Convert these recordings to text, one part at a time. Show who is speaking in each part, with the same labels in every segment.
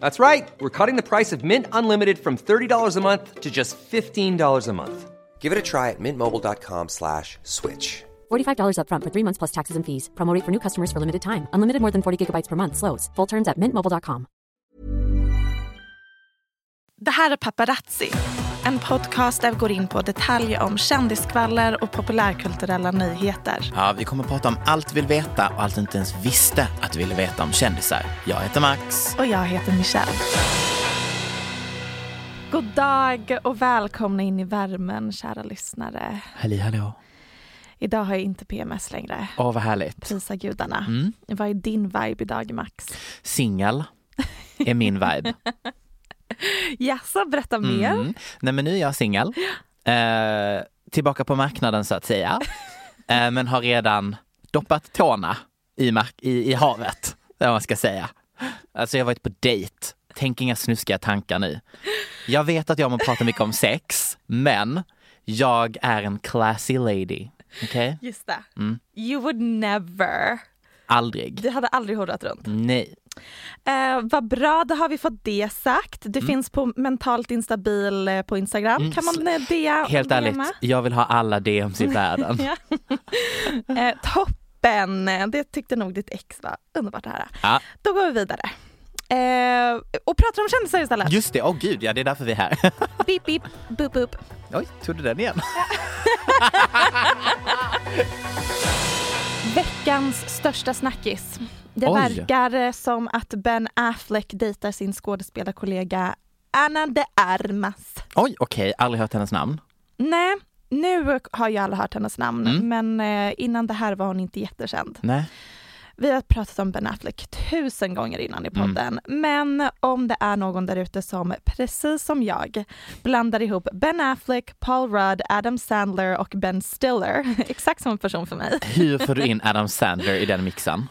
Speaker 1: That's right. We're cutting the price of Mint Unlimited from $30 a month to just $15 a month. Give it a try at mintmobile.com slash switch.
Speaker 2: $45 upfront for three months plus taxes and fees. Promo rate for new customers for limited time. Unlimited more than 40 gigabytes per month. Slows. Full terms at mintmobile.com.
Speaker 3: Det här är Paparazzi, en podcast där vi går in på detaljer om kändisskvaller och populärkulturella nyheter.
Speaker 4: Ja, vi kommer att prata om allt vi vill veta och allt du inte ens visste att du ville veta om kändisar. Jag heter Max.
Speaker 3: Och jag heter Michelle. God dag och välkomna in i värmen, kära lyssnare.
Speaker 4: Halli hallå.
Speaker 3: Idag har jag inte PMS längre.
Speaker 4: Åh, vad härligt.
Speaker 3: Prisa gudarna. Vad är din vibe idag, Max?
Speaker 4: Singel är min vibe.
Speaker 3: Jaså, berätta mer.
Speaker 4: Mm. Nej, men nu är jag singel. Eh, tillbaka på marknaden så att säga. Eh, men har redan doppat tårna i, mark- i, i havet, eller vad man ska säga. Alltså jag har varit på dejt. Tänk inga snuskiga tankar nu. Jag vet att jag må prata mycket om sex, men jag är en classy lady. Okej?
Speaker 3: Just det. You would never.
Speaker 4: Aldrig.
Speaker 3: Du hade aldrig horat runt.
Speaker 4: Nej.
Speaker 3: Eh, vad bra, då har vi fått det sagt. Du
Speaker 4: Mm.
Speaker 3: finns på mentalt instabil eh, på Instagram. Kan man eh, det?
Speaker 4: Helt ärligt, jag vill ha alla DMs i världen.
Speaker 3: Ja. eh, toppen, det tyckte nog ditt ex var underbart att höra.
Speaker 4: Ja.
Speaker 3: Då går vi vidare. Eh, och pratar om kändisar istället.
Speaker 4: Just det, åh gud ja det är därför vi är här.
Speaker 3: Beep, beep, boop, boop.
Speaker 4: Oj, tog du den igen?
Speaker 3: Veckans största snackis. Det
Speaker 4: Oj.
Speaker 3: verkar eh, som att Ben Affleck dejtar sin skådespelarkollega Anna de Armas.
Speaker 4: Oj, okej, aldrig hört hennes namn.
Speaker 3: Nej, nu har ju alla hört hennes namn, men eh, innan det här var hon inte jättekänd.
Speaker 4: Nej.
Speaker 3: Vi har pratat om Ben Affleck tusen gånger innan i podden, men om det är någon där ute som precis som jag blandar ihop Ben Affleck, Paul Rudd, Adam Sandler och Ben Stiller, exakt som person för mig.
Speaker 4: Hur får du in Adam Sandler i den mixen?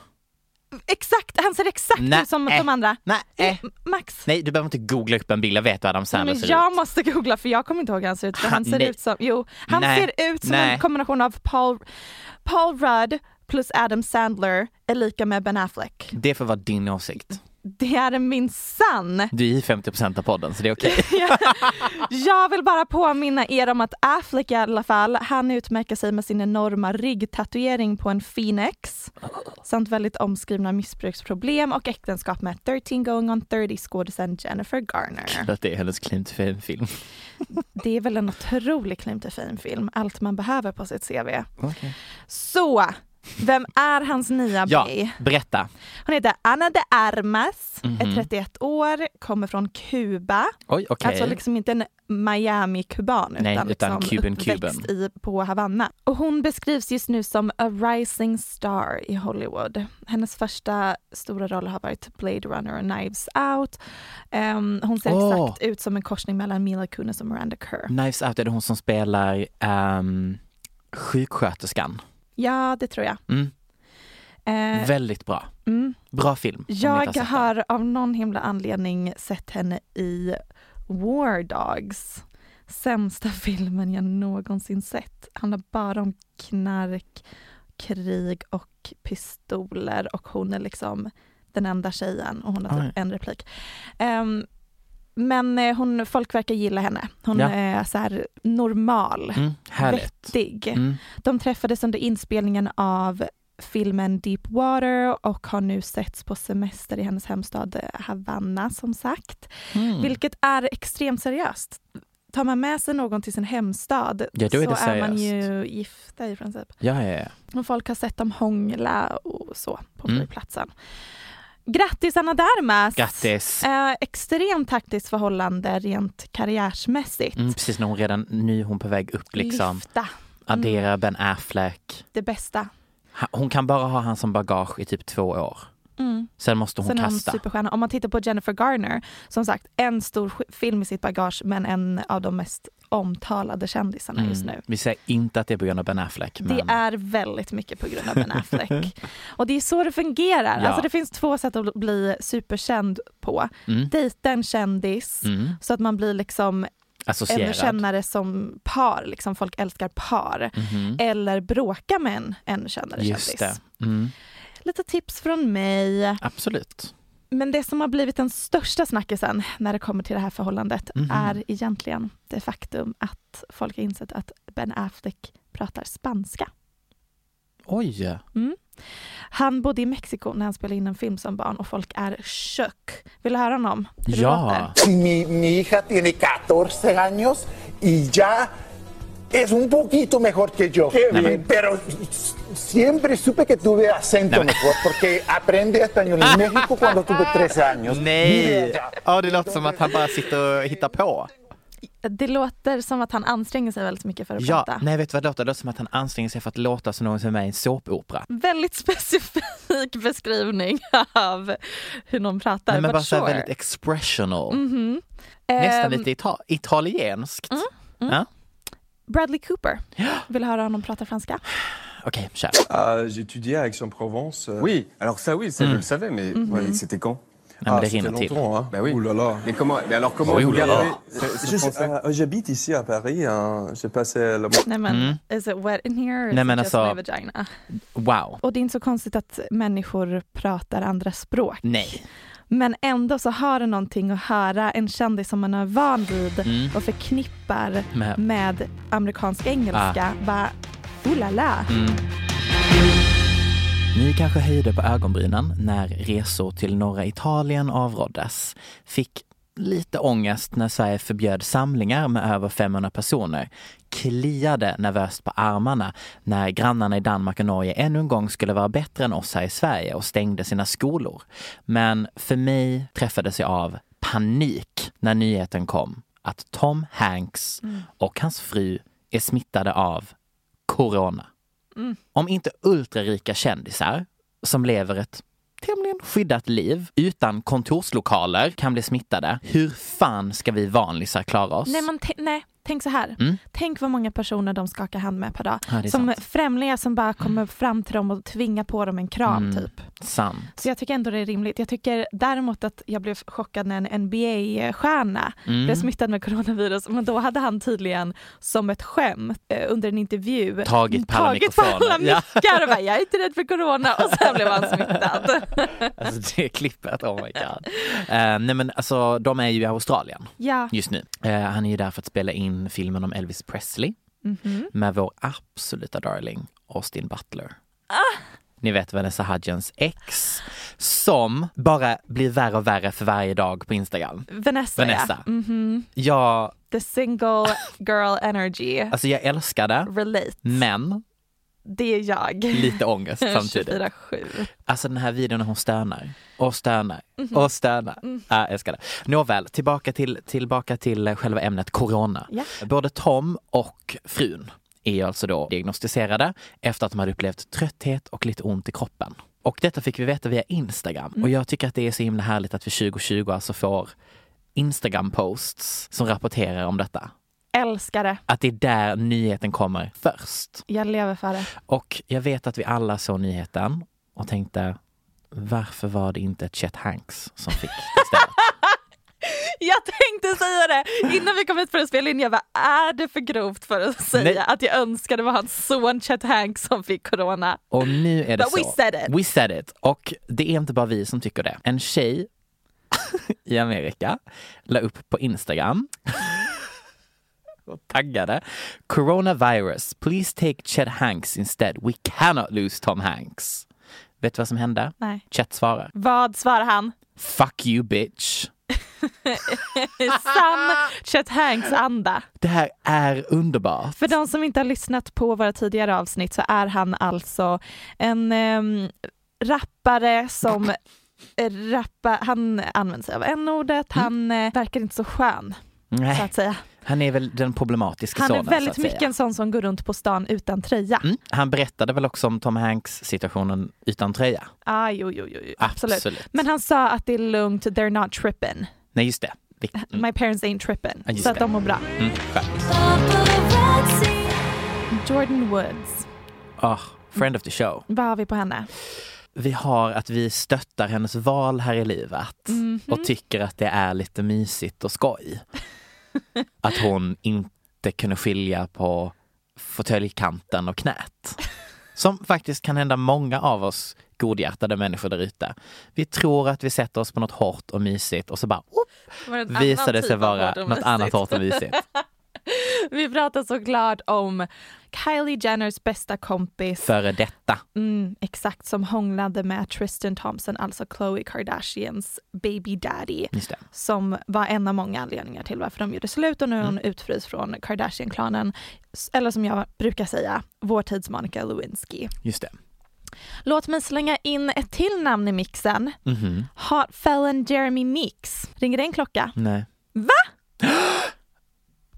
Speaker 3: Exakt, han ser exakt
Speaker 4: Nej.
Speaker 3: ut som de andra.
Speaker 4: Nej.
Speaker 3: M- Max,
Speaker 4: Nej, du behöver inte googla upp en bild, jag vet hur Adam Sandler
Speaker 3: men
Speaker 4: ser
Speaker 3: jag
Speaker 4: ut.
Speaker 3: måste googla för jag kommer inte ihåg hur han ser ut. För han
Speaker 4: Han-
Speaker 3: ser
Speaker 4: nej.
Speaker 3: ut som, jo, han
Speaker 4: Nej.
Speaker 3: ser ut som
Speaker 4: Nej.
Speaker 3: en kombination av Paul, Paul Rudd plus Adam Sandler är lika med Ben Affleck.
Speaker 4: Det får vara din åsikt.
Speaker 3: Det är min sann.
Speaker 4: Du är i 50% av podden så det är okej.
Speaker 3: Jag vill bara påminna er om att Affleck i alla fall, han utmärker sig med sin enorma ryggtatuering på en Phoenix samt väldigt omskrivna missbruksproblem och äktenskap med 13 going on 30 skådisen Jennifer Garner.
Speaker 4: Att det är hennes claim to fame-film.
Speaker 3: Det är väl en otrolig claim to fame-film, allt man behöver på sitt CV. Så, vem är hans nya
Speaker 4: Ja,
Speaker 3: bae?
Speaker 4: berätta.
Speaker 3: Hon heter Ana de Armas, är 31 år, kommer från Kuba.
Speaker 4: Mhm. Oj, okej.
Speaker 3: Alltså liksom inte en Miami-kuban
Speaker 4: Nej,
Speaker 3: utan,
Speaker 4: utan
Speaker 3: liksom
Speaker 4: Cuban
Speaker 3: uppväxt
Speaker 4: Cuban.
Speaker 3: I, på Havanna. Och hon beskrivs just nu som a rising star i Hollywood. Hennes första stora roll har varit Blade Runner och Knives Out. Ehm, hon ser
Speaker 4: Åh.
Speaker 3: exakt ut som en korsning mellan Mila Kunis och Miranda Kerr.
Speaker 4: Knives Out är det hon som spelar um, sjuksköterskan.
Speaker 3: Ja, det tror jag.
Speaker 4: Mm.
Speaker 3: Eh,
Speaker 4: Väldigt bra.
Speaker 3: mm.
Speaker 4: Bra film. om ni inte
Speaker 3: Jag
Speaker 4: sett den.
Speaker 3: har av någon himla anledning sett henne i War Dogs. sämsta filmen jag någonsin sett. Handlar bara om knark, krig och pistoler och hon är liksom den enda tjejen och hon har
Speaker 4: Oj.
Speaker 3: typ en replik. Ehm, men eh, hon, folk verkar gilla henne. Hon
Speaker 4: Ja.
Speaker 3: är så här normal,
Speaker 4: Mm, härligt.
Speaker 3: vettig.
Speaker 4: Mm.
Speaker 3: De träffades under inspelningen av filmen Deep Water och har nu setts på semester i hennes hemstad eh, Havanna som sagt.
Speaker 4: Mm.
Speaker 3: Vilket är extremt seriöst. Tar man med sig någon till sin hemstad
Speaker 4: Ja, då är
Speaker 3: så
Speaker 4: det
Speaker 3: är man
Speaker 4: seriöst.
Speaker 3: ju gifta i princip.
Speaker 4: Ja, ja, ja.
Speaker 3: Och folk har sett dem hångla och så på
Speaker 4: Mm.
Speaker 3: flygplatsen. Grattis Anna Dermas!
Speaker 4: Grattis.
Speaker 3: Eh, extremt taktiskt förhållande rent karriärsmässigt.
Speaker 4: Mm, precis när hon redan nu hon på väg upp liksom.
Speaker 3: Lyfta
Speaker 4: Addera Ben Affleck.
Speaker 3: det bästa.
Speaker 4: Ha- Hon kan bara ha han som bagage i typ två år.
Speaker 3: Mm.
Speaker 4: Sen måste hon
Speaker 3: Sen är hon
Speaker 4: kasta.
Speaker 3: superstjärna. Om man tittar på Jennifer Garner, som sagt en stor sk- film i sitt bagage men en av de mest omtalade kändisarna just nu.
Speaker 4: Mm. Vi säger inte att det är på grund av Ben Affleck. Men...
Speaker 3: Det är väldigt mycket på grund av Ben Affleck. och det är så det fungerar.
Speaker 4: Ja.
Speaker 3: Alltså det finns två sätt att bli superkänd på.
Speaker 4: Mm.
Speaker 3: Dejta en kändis
Speaker 4: Mm.
Speaker 3: så att man blir liksom ännu
Speaker 4: Associerad.
Speaker 3: kännare som par, liksom folk älskar par.
Speaker 4: Mhm.
Speaker 3: Eller bråka med en ännu kändare
Speaker 4: Just det.
Speaker 3: kändis.
Speaker 4: Mm.
Speaker 3: Lite tips från mig.
Speaker 4: Absolut.
Speaker 3: Men det som har blivit den största snackisen när det kommer till det här förhållandet
Speaker 4: Mhm.
Speaker 3: är egentligen det faktum att folk har insett att Ben Affleck pratar spanska.
Speaker 4: Oj.
Speaker 3: Mm, Han bodde i Mexiko när han spelade in en film som barn och folk är chock. Vill du höra honom? Hur det
Speaker 4: Ja.
Speaker 3: låter?
Speaker 5: Mi, mi hija tiene 14 años y ya es un poquito mejor que yo. Eh, Pero s- siempre supe que tuve acento mejor porque aprendí español en México cuando tuve 13 años. Vive
Speaker 4: Nej!
Speaker 5: allá.
Speaker 4: Ja, det låter som att han bara sitter och hittar på.
Speaker 3: Det låter som att han anstränger sig väldigt mycket för att
Speaker 4: Ja,
Speaker 3: prata.
Speaker 4: nej vet du vad det låter? Det låter som att han anstränger sig för att låta som någon som är med i en såpopera.
Speaker 3: Väldigt specifik beskrivning av hur någon pratar.
Speaker 4: Nej, men
Speaker 3: but
Speaker 4: bara så här
Speaker 3: sure. Mm-hmm.
Speaker 4: väldigt expressional. Nästan
Speaker 3: Ehm, Mm,
Speaker 4: lite ita- italienskt. Ja,
Speaker 3: Bradley Cooper. Vill du höra honom prata franska?
Speaker 4: Okej, kör.
Speaker 6: Ah, J'étudiais à Aix-en-Provence. euh,
Speaker 7: Oui, alors ça oui,
Speaker 1: Hmm.
Speaker 7: ça je le savais, mais
Speaker 1: Mhm.
Speaker 7: ouais, c'était quand
Speaker 4: Nej, men det
Speaker 6: c'était
Speaker 4: rinner till.
Speaker 6: longtemps, hein.
Speaker 7: Bah oui.
Speaker 6: Ouh là là.
Speaker 7: Mais comment Mais alors comment
Speaker 4: Oui,
Speaker 7: vous
Speaker 4: oui, alors.
Speaker 7: gardez ce- ce
Speaker 6: Je-
Speaker 7: français
Speaker 6: euh, J'habite ici à Paris. hein. J'ai passé le
Speaker 3: Nej men, is it wet in here? or Is
Speaker 4: Mm. Nej,
Speaker 3: it
Speaker 4: men
Speaker 3: just
Speaker 4: alltså-
Speaker 3: my vagina?
Speaker 4: Wow.
Speaker 3: Och det är inte så konstigt att människor pratar andra språk.
Speaker 4: Nej.
Speaker 3: Men ändå så har det någonting att höra en kändis som man är van vid och förknippar
Speaker 4: Mm. Med- Ah.
Speaker 3: med, amerikansk engelska. Bara, oh la la.
Speaker 4: Mm. Ni kanske höjde på ögonbrynen när resor till norra Italien avråddes. Fick lite ångest när Sverige förbjöd samlingar med över 500 personer. Kliade nervöst på armarna när grannarna i Danmark och Norge ännu en gång skulle vara bättre än oss här i Sverige och stängde sina skolor. Men för mig träffades jag av panik när nyheten kom att Tom Hanks och hans fru är smittade av corona
Speaker 3: Mm.
Speaker 4: om inte ultrarika kändisar som lever ett tämligen skyddat liv utan kontorslokaler kan bli smittade, hur fan ska vi vanlisar klara oss?
Speaker 3: Nej, men t- nej, tänk så här.
Speaker 4: Mm.
Speaker 3: Tänk vad många personer de skakar hand med per dag.
Speaker 4: Ja, det är
Speaker 3: som
Speaker 4: sant.
Speaker 3: främlingar som bara kommer fram till dem och tvingar på dem en kram
Speaker 4: Mm.
Speaker 3: typ.
Speaker 4: Sant.
Speaker 3: Så jag tycker ändå det är rimligt. Jag tycker däremot att jag blev chockad när en NBA-stjärna
Speaker 4: Mm.
Speaker 3: blev smittad med coronavirus. Men då hade han tydligen som ett skämt eh, under en intervju
Speaker 4: Tagit på alla
Speaker 3: tagit på alla
Speaker 4: mikrofoner. Ja.
Speaker 3: mickar och bara jag är inte rädd för corona och sen blev han smittad.
Speaker 4: Alltså det klippet, oh my god. Eh, nej men alltså de är ju i Australien
Speaker 3: ja.
Speaker 4: just nu. Eh, han är ju där för att spela in filmen om Elvis Presley
Speaker 3: Mhm.
Speaker 4: med vår absoluta darling Austin Butler.
Speaker 3: Ah!
Speaker 4: Ni vet Vanessa Hudgens ex som bara blir värre och värre för varje dag på Instagram.
Speaker 3: Vanessa,
Speaker 4: Vanessa.
Speaker 3: Ja. Mhm.
Speaker 4: Jag
Speaker 3: The single girl energy.
Speaker 4: Alltså jag älskar det,
Speaker 3: Relate.
Speaker 4: men
Speaker 3: Det är jag.
Speaker 4: lite ångest samtidigt.
Speaker 3: 24-7.
Speaker 4: Alltså den här videon när hon stönar och stönar och stönar. Ja, jag älskar det. Nåväl, tillbaka till, tillbaka till själva ämnet corona.
Speaker 3: Ja.
Speaker 4: Både Tom och frun är ju alltså då diagnostiserade efter att de hade upplevt trötthet och lite ont i kroppen. Och detta fick vi veta via Instagram och jag tycker att det är så himla härligt att vi 2020 alltså får Instagram-posts som rapporterar om detta.
Speaker 3: Älskar det.
Speaker 4: Att det är där nyheten kommer först.
Speaker 3: Jag lever för det.
Speaker 4: Och jag vet att vi alla såg nyheten och tänkte varför var det inte Chet Hanks som fick det istället?
Speaker 3: Jag tänkte säga det innan vi kom hit för att spela in. Jag bara, är det för grovt för att säga
Speaker 4: Nej.
Speaker 3: att jag önskar det var hans son Chet Hank som fick corona?
Speaker 4: Och nu är det
Speaker 3: But
Speaker 4: så.
Speaker 3: we said it.
Speaker 4: We said it. Och det är inte bara vi som tycker det. En tjej i Amerika la upp på Instagram och taggade Coronavirus, please take Chet Hanks instead. We cannot lose Tom Hanks. Vet du vad som hände?
Speaker 3: Nej.
Speaker 4: Chet svarar.
Speaker 3: Vad svarar han?
Speaker 4: Fuck you bitch.
Speaker 3: Sann Chet Hanks anda.
Speaker 4: Det här är underbart.
Speaker 3: För de som inte har lyssnat på våra tidigare avsnitt så är han alltså en ehm, rappare som rappa, han använder sig av n-ordet, han eh, verkar inte så skön så
Speaker 4: Mm. Nej,
Speaker 3: att säga.
Speaker 4: han är väl den problematiska
Speaker 3: Han är
Speaker 4: sonen. så
Speaker 3: väldigt
Speaker 4: att säga.
Speaker 3: mycket en sån som går runt på stan utan tröja.
Speaker 4: Mm. Han berättade väl också om Tom Hanks situationen utan tröja.
Speaker 3: Ah, jo, jo, jo, jo. Absolut.
Speaker 4: Absolut.
Speaker 3: Men han sa att det är lugnt, they're not trippin.
Speaker 4: Nej, just det. Mm. Vilket-
Speaker 3: My parents ain't trippin.
Speaker 4: Ja, just
Speaker 3: så att
Speaker 4: det.
Speaker 3: de mår bra.
Speaker 4: Mm, skönt.
Speaker 3: Jordan Woods,
Speaker 4: Ah, friend of the show.
Speaker 3: vad har vi på henne?
Speaker 4: Vi har att vi stöttar hennes val här i livet
Speaker 3: Mhm.
Speaker 4: och tycker att det är lite mysigt och skoj. att hon inte kunde skilja på fåtöljkanten och knät. Som faktiskt kan hända många av oss godhjärtade människor där ute. Vi tror att vi sätter oss på något hårt och mysigt och så bara oh, visade
Speaker 3: typ
Speaker 4: det typ sig vara något annat hårt och mysigt.
Speaker 3: Vi pratar såklart om Kylie Jenners bästa kompis,
Speaker 4: Före detta.
Speaker 3: mm, exakt som hånglade med Tristan Thompson, alltså Khloe Kardashians baby daddy.
Speaker 4: Just det.
Speaker 3: som var en av många anledningar till varför de gjorde slut och nu är hon
Speaker 4: Mm.
Speaker 3: utfryst från Kardashian-klanen. S- Eller som jag brukar säga, vår tids Monica Lewinsky.
Speaker 4: Just det.
Speaker 3: Låt mig slänga in ett till namn i mixen.
Speaker 4: Mhm.
Speaker 3: Ha Fallon Jeremy Mix. Ringer det en klocka?
Speaker 4: Nej.
Speaker 3: Va?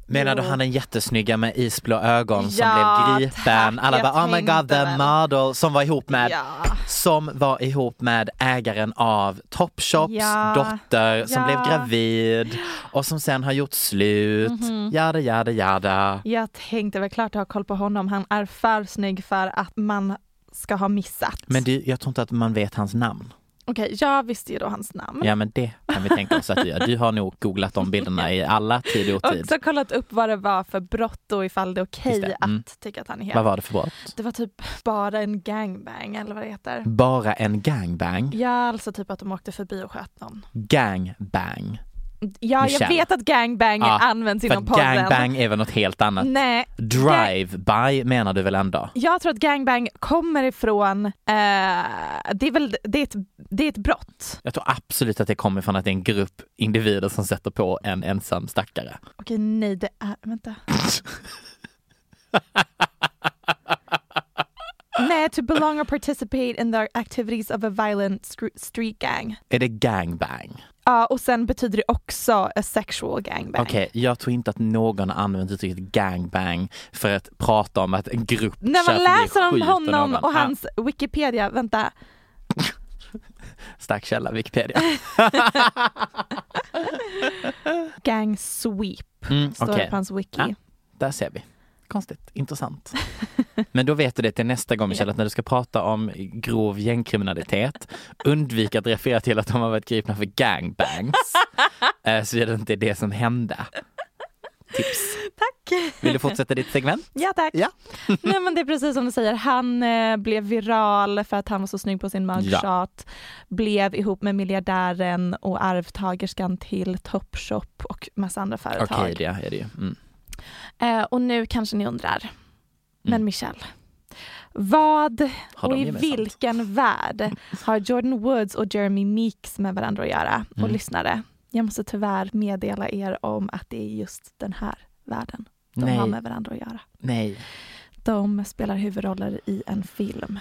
Speaker 4: Menar du han den jättesnygga med isblå ögon som
Speaker 3: Ja,
Speaker 4: blev gripen?
Speaker 3: tack,
Speaker 4: Alla
Speaker 3: jag
Speaker 4: bara oh my god
Speaker 3: tänkte
Speaker 4: the
Speaker 3: väl."
Speaker 4: model som var ihop med
Speaker 3: Ja.
Speaker 4: som var ihop med ägaren av Topshops
Speaker 3: Ja.
Speaker 4: dotter som
Speaker 3: Ja.
Speaker 4: blev gravid och som sen har gjort slut.
Speaker 3: Mhm.
Speaker 4: Jada jada jada.
Speaker 3: Jag tänkte väl klart ha koll på honom. Han är för snygg för att man ska ha missat.
Speaker 4: Men du, jag tror inte att man vet hans namn.
Speaker 3: Okej, jag visste ju då hans namn.
Speaker 4: Ja men det kan vi tänka oss att du gör. Du har nog googlat de bilderna i alla tid och
Speaker 3: Och
Speaker 4: otid.
Speaker 3: också kollat upp vad det var för brott och ifall det är okej
Speaker 4: Just det, mm.
Speaker 3: att tycka att han är
Speaker 4: Vad
Speaker 3: helt
Speaker 4: var det för brott?
Speaker 3: Det var typ bara en gangbang eller vad det heter.
Speaker 4: Bara en gangbang.
Speaker 3: Ja, alltså typ att de åkte förbi och sköt någon.
Speaker 4: Gangbang.
Speaker 3: Ja, jag
Speaker 4: Michelle.
Speaker 3: vet att gangbang
Speaker 4: Ja,
Speaker 3: används
Speaker 4: För
Speaker 3: inom podden.
Speaker 4: gangbang är väl något helt annat?
Speaker 3: Nej,
Speaker 4: Drive-by menar du väl ändå?
Speaker 3: jag tror att gangbang kommer ifrån, eh, det är väl, det är, ett, det är ett brott.
Speaker 4: Jag tror absolut att det kommer från att det är en grupp individer som sätter på en ensam stackare.
Speaker 3: Okej, nej det är, vänta. nej, to belong or participate in the activities of a violent stru- street gang.
Speaker 4: Är det gangbang?
Speaker 3: Ja, och sen betyder det också a sexual gangbang.
Speaker 4: Okej, jag tror inte att någon har använt uttrycket gangbang för att prata om att en grupp
Speaker 3: När man
Speaker 4: kör förbi
Speaker 3: läser om
Speaker 4: skjuter
Speaker 3: honom
Speaker 4: någon.
Speaker 3: och hans Wikipedia, vänta.
Speaker 4: Ah, stark källa, Wikipedia.
Speaker 3: Gang sweep
Speaker 4: Mm,
Speaker 3: står det
Speaker 4: okej.
Speaker 3: på hans wiki.
Speaker 4: Ja. Där ser vi. Konstigt, intressant. Men då vet du det till nästa gång Michelle, att när du ska prata om grov gängkriminalitet, undvik att referera till att de har varit gripna för gangbangs. Eh, Så är det inte det som hände. Tips.
Speaker 3: Tack!
Speaker 4: Vill du fortsätta ditt segment?
Speaker 3: Ja tack.
Speaker 4: Ja.
Speaker 3: Nej men det är precis som du säger, han eh, blev viral för att han var så snygg på sin mugshot, blev ihop med miljardären och arvtagerskan till Topshop och massa andra företag.
Speaker 4: Okej, det är det ju. Mm.
Speaker 3: Eh, och nu kanske ni undrar, men
Speaker 4: Mm.
Speaker 3: Michelle, vad
Speaker 4: Har
Speaker 3: och
Speaker 4: de
Speaker 3: i
Speaker 4: gemensamt?
Speaker 3: vilken värld har Jordan Woods och Jeremy Meeks med varandra att göra? Och
Speaker 4: Mm.
Speaker 3: lyssnare, jag måste tyvärr meddela er om att det är just den här världen de har
Speaker 4: Nej,
Speaker 3: med varandra att göra.
Speaker 4: nej.
Speaker 3: De spelar huvudroller i en film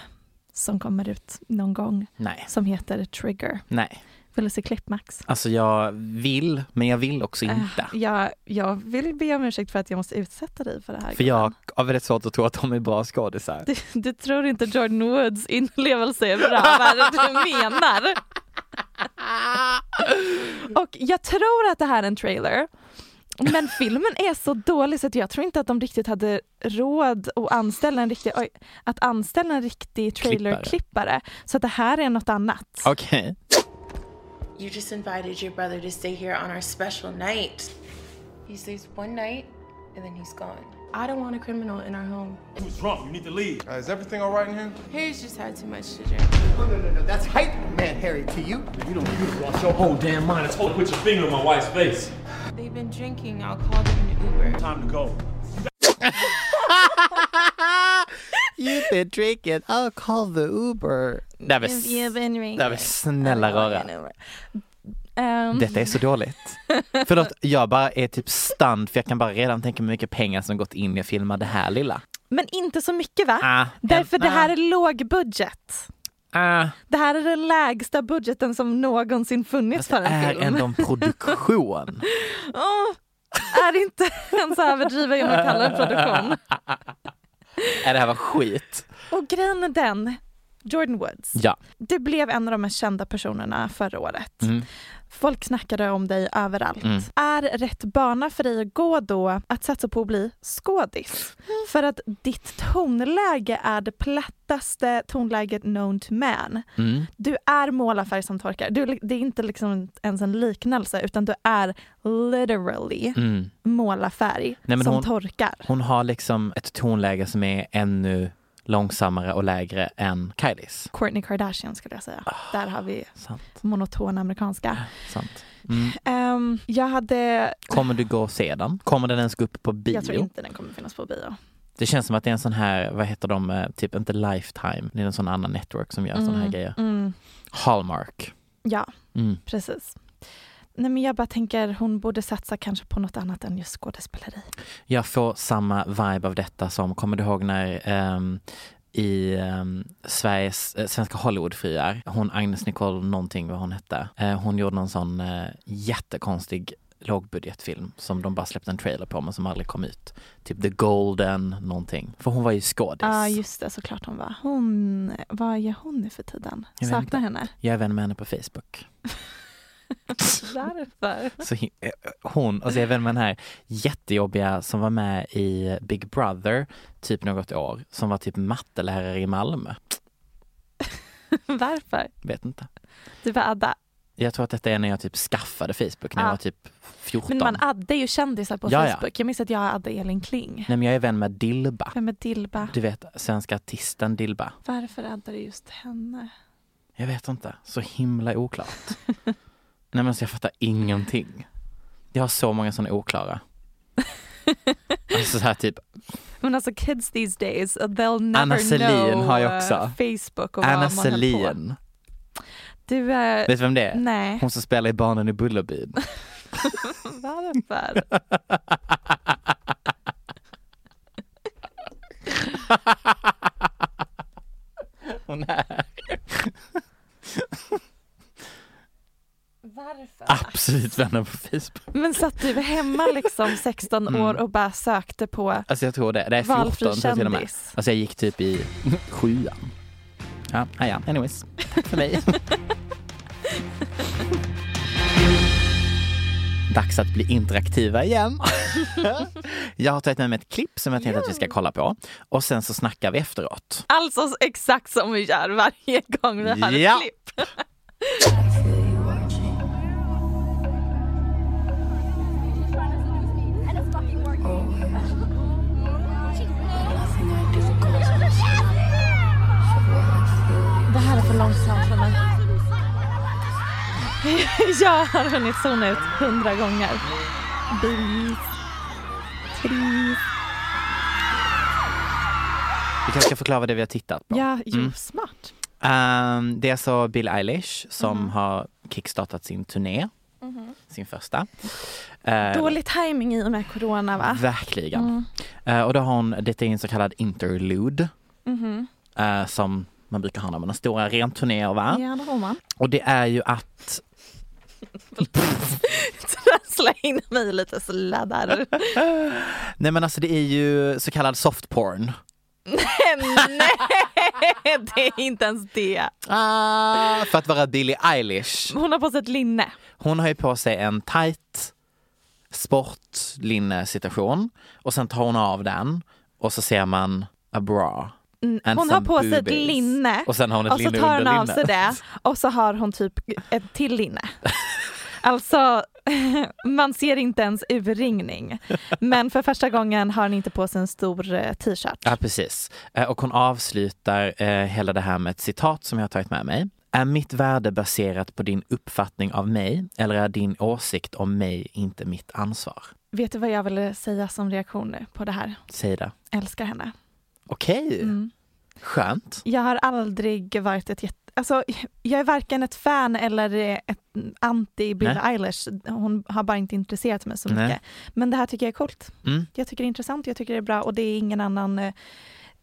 Speaker 3: som kommer ut någon gång
Speaker 4: Nej,
Speaker 3: som heter Trigger.
Speaker 4: nej.
Speaker 3: Vill du se klipp Max?
Speaker 4: Alltså jag vill, men jag vill också inte.
Speaker 3: Äh, jag, jag vill be om ursäkt för att jag måste utsätta dig för det här.
Speaker 4: För jag
Speaker 3: gumman.
Speaker 4: har väldigt svårt att tro att de är bra skådisar.
Speaker 3: Du, du tror inte Jordan Woods inlevelse är bra, vad är det du menar? Och jag tror att det här är en trailer. Men filmen är så dålig så att jag tror inte att de riktigt hade råd att anställa en riktig, oj, att anställa en riktig trailerklippare. Så att det här är något annat.
Speaker 4: Okej.
Speaker 8: You just invited your brother to stay here on our special night. He stays one night and then he's gone. I don't want a criminal in our home.
Speaker 9: You drunk. You need to leave. is everything all right in here?
Speaker 8: Harry's just had too much to drink.
Speaker 9: No, no, no, no. That's hype, man, Harry. To you, you don't. You lost your whole damn mind. I told you to put your finger in my wife's face.
Speaker 8: They've been drinking. I'll call them an Uber.
Speaker 9: Time to go.
Speaker 4: You've been drinking. I'll call the Uber. Nej men, s-
Speaker 3: You've been
Speaker 4: nej,
Speaker 3: drinking.
Speaker 4: men snälla rara.
Speaker 3: Ehm,
Speaker 4: Detta är så dåligt. Förlåt, jag bara är typ stunned för jag kan bara redan tänka mig hur mycket pengar som gått in i att filma det här lilla.
Speaker 3: Men inte så mycket va?
Speaker 4: Ah,
Speaker 3: Därför
Speaker 4: en-
Speaker 3: det här
Speaker 4: ah.
Speaker 3: är lågbudget.
Speaker 4: Ah,
Speaker 3: Det här är den lägsta budgeten som någonsin funnits för en
Speaker 4: alltså, är
Speaker 3: film.
Speaker 4: ändå en produktion.
Speaker 3: Åh, är det inte en så överdriven jag kallar det produktion?
Speaker 4: Äh, det här var skit.
Speaker 3: Och grejen är den, Jordan Woods,
Speaker 4: Ja.
Speaker 3: du blev en av de mest kända personerna förra året.
Speaker 4: Mm.
Speaker 3: Folk snackade om dig överallt.
Speaker 4: Mm.
Speaker 3: Är rätt bana för dig att gå då att satsa på att bli skådis?
Speaker 4: Mm.
Speaker 3: För att ditt tonläge är det plattaste tonläget known to man.
Speaker 4: Mm.
Speaker 3: Du är målarfärg som torkar. Du, det är inte liksom ens en liknelse utan du är literally
Speaker 4: Mm.
Speaker 3: målarfärg
Speaker 4: Nej, men
Speaker 3: som
Speaker 4: hon-
Speaker 3: torkar.
Speaker 4: Hon har liksom ett tonläge som är ännu långsammare och lägre än Kylies.
Speaker 3: Kourtney Kardashian skulle jag säga.
Speaker 4: Ah.
Speaker 3: Där har vi
Speaker 4: Sant,
Speaker 3: monoton amerikanska.
Speaker 4: sant. Mm.
Speaker 3: Ehm, jag hade...
Speaker 4: Kommer du gå och se den? Kommer den ens gå upp på
Speaker 3: Jag tror
Speaker 4: bio?
Speaker 3: inte den kommer finnas på bio.
Speaker 4: Det känns som att det är en sån här, vad heter de, eh, typ inte Lifetime, det är en sån annan network som gör såna här
Speaker 3: Mm,
Speaker 4: grejer.
Speaker 3: Mm,
Speaker 4: Hallmark.
Speaker 3: ja,
Speaker 4: Mm.
Speaker 3: precis. Nej, men jag bara tänker hon borde satsa kanske på något annat än just skådespeleri.
Speaker 4: Jag får samma vibe av detta som, kommer du ihåg när ehm, i ehm, Sveriges, eh, Svenska Hollywoodfruar, hon Agnes Nicole någonting vad hon hette, eh, hon gjorde någon sån eh, jättekonstig lågbudgetfilm som de bara släppte en trailer på men som aldrig kom ut. Typ The Golden någonting. För hon var ju skådis.
Speaker 3: Ja Ah, just det, såklart hon var. Hon, vad gör hon nu för tiden?
Speaker 4: Jag vet
Speaker 3: Saknar henne.
Speaker 4: Jag är vän med henne på Facebook.
Speaker 3: Varför?
Speaker 4: Så hi- eh, hon, alltså jag är vän med den här jättejobbiga som var med i Big Brother typ något år, som var typ mattelärare i Malmö.
Speaker 3: Varför?
Speaker 4: Vet inte.
Speaker 3: Du var Adda.
Speaker 4: Jag tror att detta är när jag typ skaffade Facebook när jag
Speaker 3: Ah.
Speaker 4: var typ 14.
Speaker 3: Men man addar ju kändisar på
Speaker 4: Ja, ja.
Speaker 3: Facebook. Jag minns att jag addade Elin Kling.
Speaker 4: Nej men jag är vän med Dilba.
Speaker 3: Vem är Dilba?
Speaker 4: Du vet svenska artisten Dilba.
Speaker 3: Varför addar du just henne?
Speaker 4: Jag vet inte. Så himla oklart. Nej men så jag fattar ingenting. Jag har så många sådana oklara. alltså så här typ,
Speaker 3: Men alltså kids these days, they'll never
Speaker 4: Anna Selin
Speaker 3: know
Speaker 4: har jag
Speaker 3: eh,
Speaker 4: också.
Speaker 3: Facebook och
Speaker 4: Anna
Speaker 3: vad man höll på.
Speaker 4: Selin.
Speaker 3: Du, eh,
Speaker 4: Vet du vem det är?
Speaker 3: nej.
Speaker 4: Hon som spelar i Barnen i Bullerbyn.
Speaker 3: Varför?
Speaker 4: Hon är
Speaker 8: Varför?
Speaker 4: absolut vänner på Facebook.
Speaker 3: Men satt du hemma liksom 16
Speaker 4: Mm.
Speaker 3: år och bara sökte på
Speaker 4: Alltså jag tror det. Det är 14
Speaker 3: Valfri
Speaker 4: tror jag till och med.
Speaker 3: kändis.
Speaker 4: Alltså jag gick typ i sjuan. Ja, ja, ja. anyways. Tack för mig. Dags att bli interaktiva igen. jag har tagit med mig ett klipp som jag tänkte att vi ska kolla på och sen så snackar vi efteråt.
Speaker 3: Alltså exakt som vi gör varje gång vi har ett
Speaker 4: Ja.
Speaker 3: klipp. Det här är för långsamt för mig. Jag har hunnit zona ut hundra gånger. Bis. Tris.
Speaker 4: Vi kanske ska förklara vad det är vi har tittat på.
Speaker 3: Ja, jo,
Speaker 4: Mm.
Speaker 3: smart.
Speaker 4: Ehm, det är alltså Billie Eilish som
Speaker 3: Mhm.
Speaker 4: har kickstartat sin turné, sin första. Eh,
Speaker 3: Dålig timing i och med corona va? Mm.
Speaker 4: Verkligen. Eh, och då har hon, detta är en så kallad interlude
Speaker 3: Mhm.
Speaker 4: eh, som man brukar ha när man har stora renturnéer va?
Speaker 3: Ja, det har man.
Speaker 4: Och det är ju att,
Speaker 3: Trassla in mig lite sladdar.
Speaker 4: eh, nej men alltså det är ju så kallad soft porn.
Speaker 3: Nej, det är inte ens det.
Speaker 4: Ah, för att vara Billie Eilish.
Speaker 3: Hon har på sig ett linne.
Speaker 4: Hon har ju på sig en tight sportlinne situation och sen tar hon av den och så ser man a ah, bra.
Speaker 3: Mm,
Speaker 4: And
Speaker 3: hon har
Speaker 4: some
Speaker 3: på sig ett
Speaker 4: boobies.
Speaker 3: linne
Speaker 4: Och sen har hon ett
Speaker 3: och så
Speaker 4: linne
Speaker 3: tar hon
Speaker 4: under
Speaker 3: av sig
Speaker 4: linnet.
Speaker 3: det och så har hon typ ett till linne. Alltså man ser inte ens urringning. Men för första gången har hon inte på sig en stor eh, t-shirt.
Speaker 4: Ja, precis. Eh, Och hon avslutar eh, hela det här med ett citat som jag har tagit med mig. Är mitt värde baserat på din uppfattning av mig eller är din åsikt om mig inte mitt ansvar?
Speaker 3: Vet du vad jag ville säga som reaktion nu på det här?
Speaker 4: Säg det.
Speaker 3: Älskar henne.
Speaker 4: Okej,
Speaker 3: Mm.
Speaker 4: skönt.
Speaker 3: Jag har aldrig varit ett jätte... Alltså, jag är varken ett fan eller ett anti Billie
Speaker 4: Nej.
Speaker 3: Eilish. Hon har bara inte intresserat mig så
Speaker 4: Nej.
Speaker 3: mycket. Men det här tycker jag är coolt.
Speaker 4: Mm.
Speaker 3: Jag tycker det är intressant, jag tycker det är bra och det är ingen annan eh,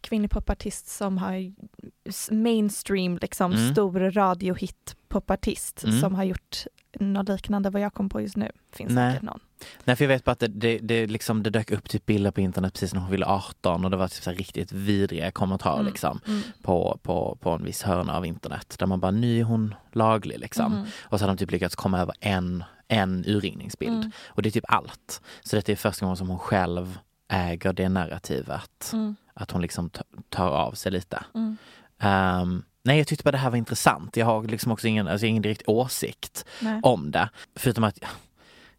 Speaker 3: kvinnlig popartist som har s- mainstream, liksom
Speaker 4: Mm.
Speaker 3: stor radiohit popartist
Speaker 4: Mm.
Speaker 3: som har gjort något liknande vad jag kom på just nu. Finns
Speaker 4: Nej.
Speaker 3: säkert någon.
Speaker 4: Nej, för jag vet bara att det, det, det, liksom, det dök upp typ bilder på internet precis när hon fyllde 18 och det var typ så här riktigt vidriga kommentarer
Speaker 3: Mm,
Speaker 4: liksom,
Speaker 3: mm.
Speaker 4: På, på, på en viss hörna av internet där man bara, nu är hon laglig liksom.
Speaker 3: Mm.
Speaker 4: Och så hade de typ lyckats komma över en, en urringningsbild.
Speaker 3: Mm.
Speaker 4: Och det är typ allt. Så detta är första gången som hon själv äger det narrativet.
Speaker 3: Mm.
Speaker 4: Att hon liksom ta- tar av sig lite.
Speaker 3: Mm.
Speaker 4: Ehm, nej, jag tyckte bara det här var intressant. Jag har liksom också ingen, alltså, ingen direkt åsikt
Speaker 3: Nej.
Speaker 4: om det. Förutom att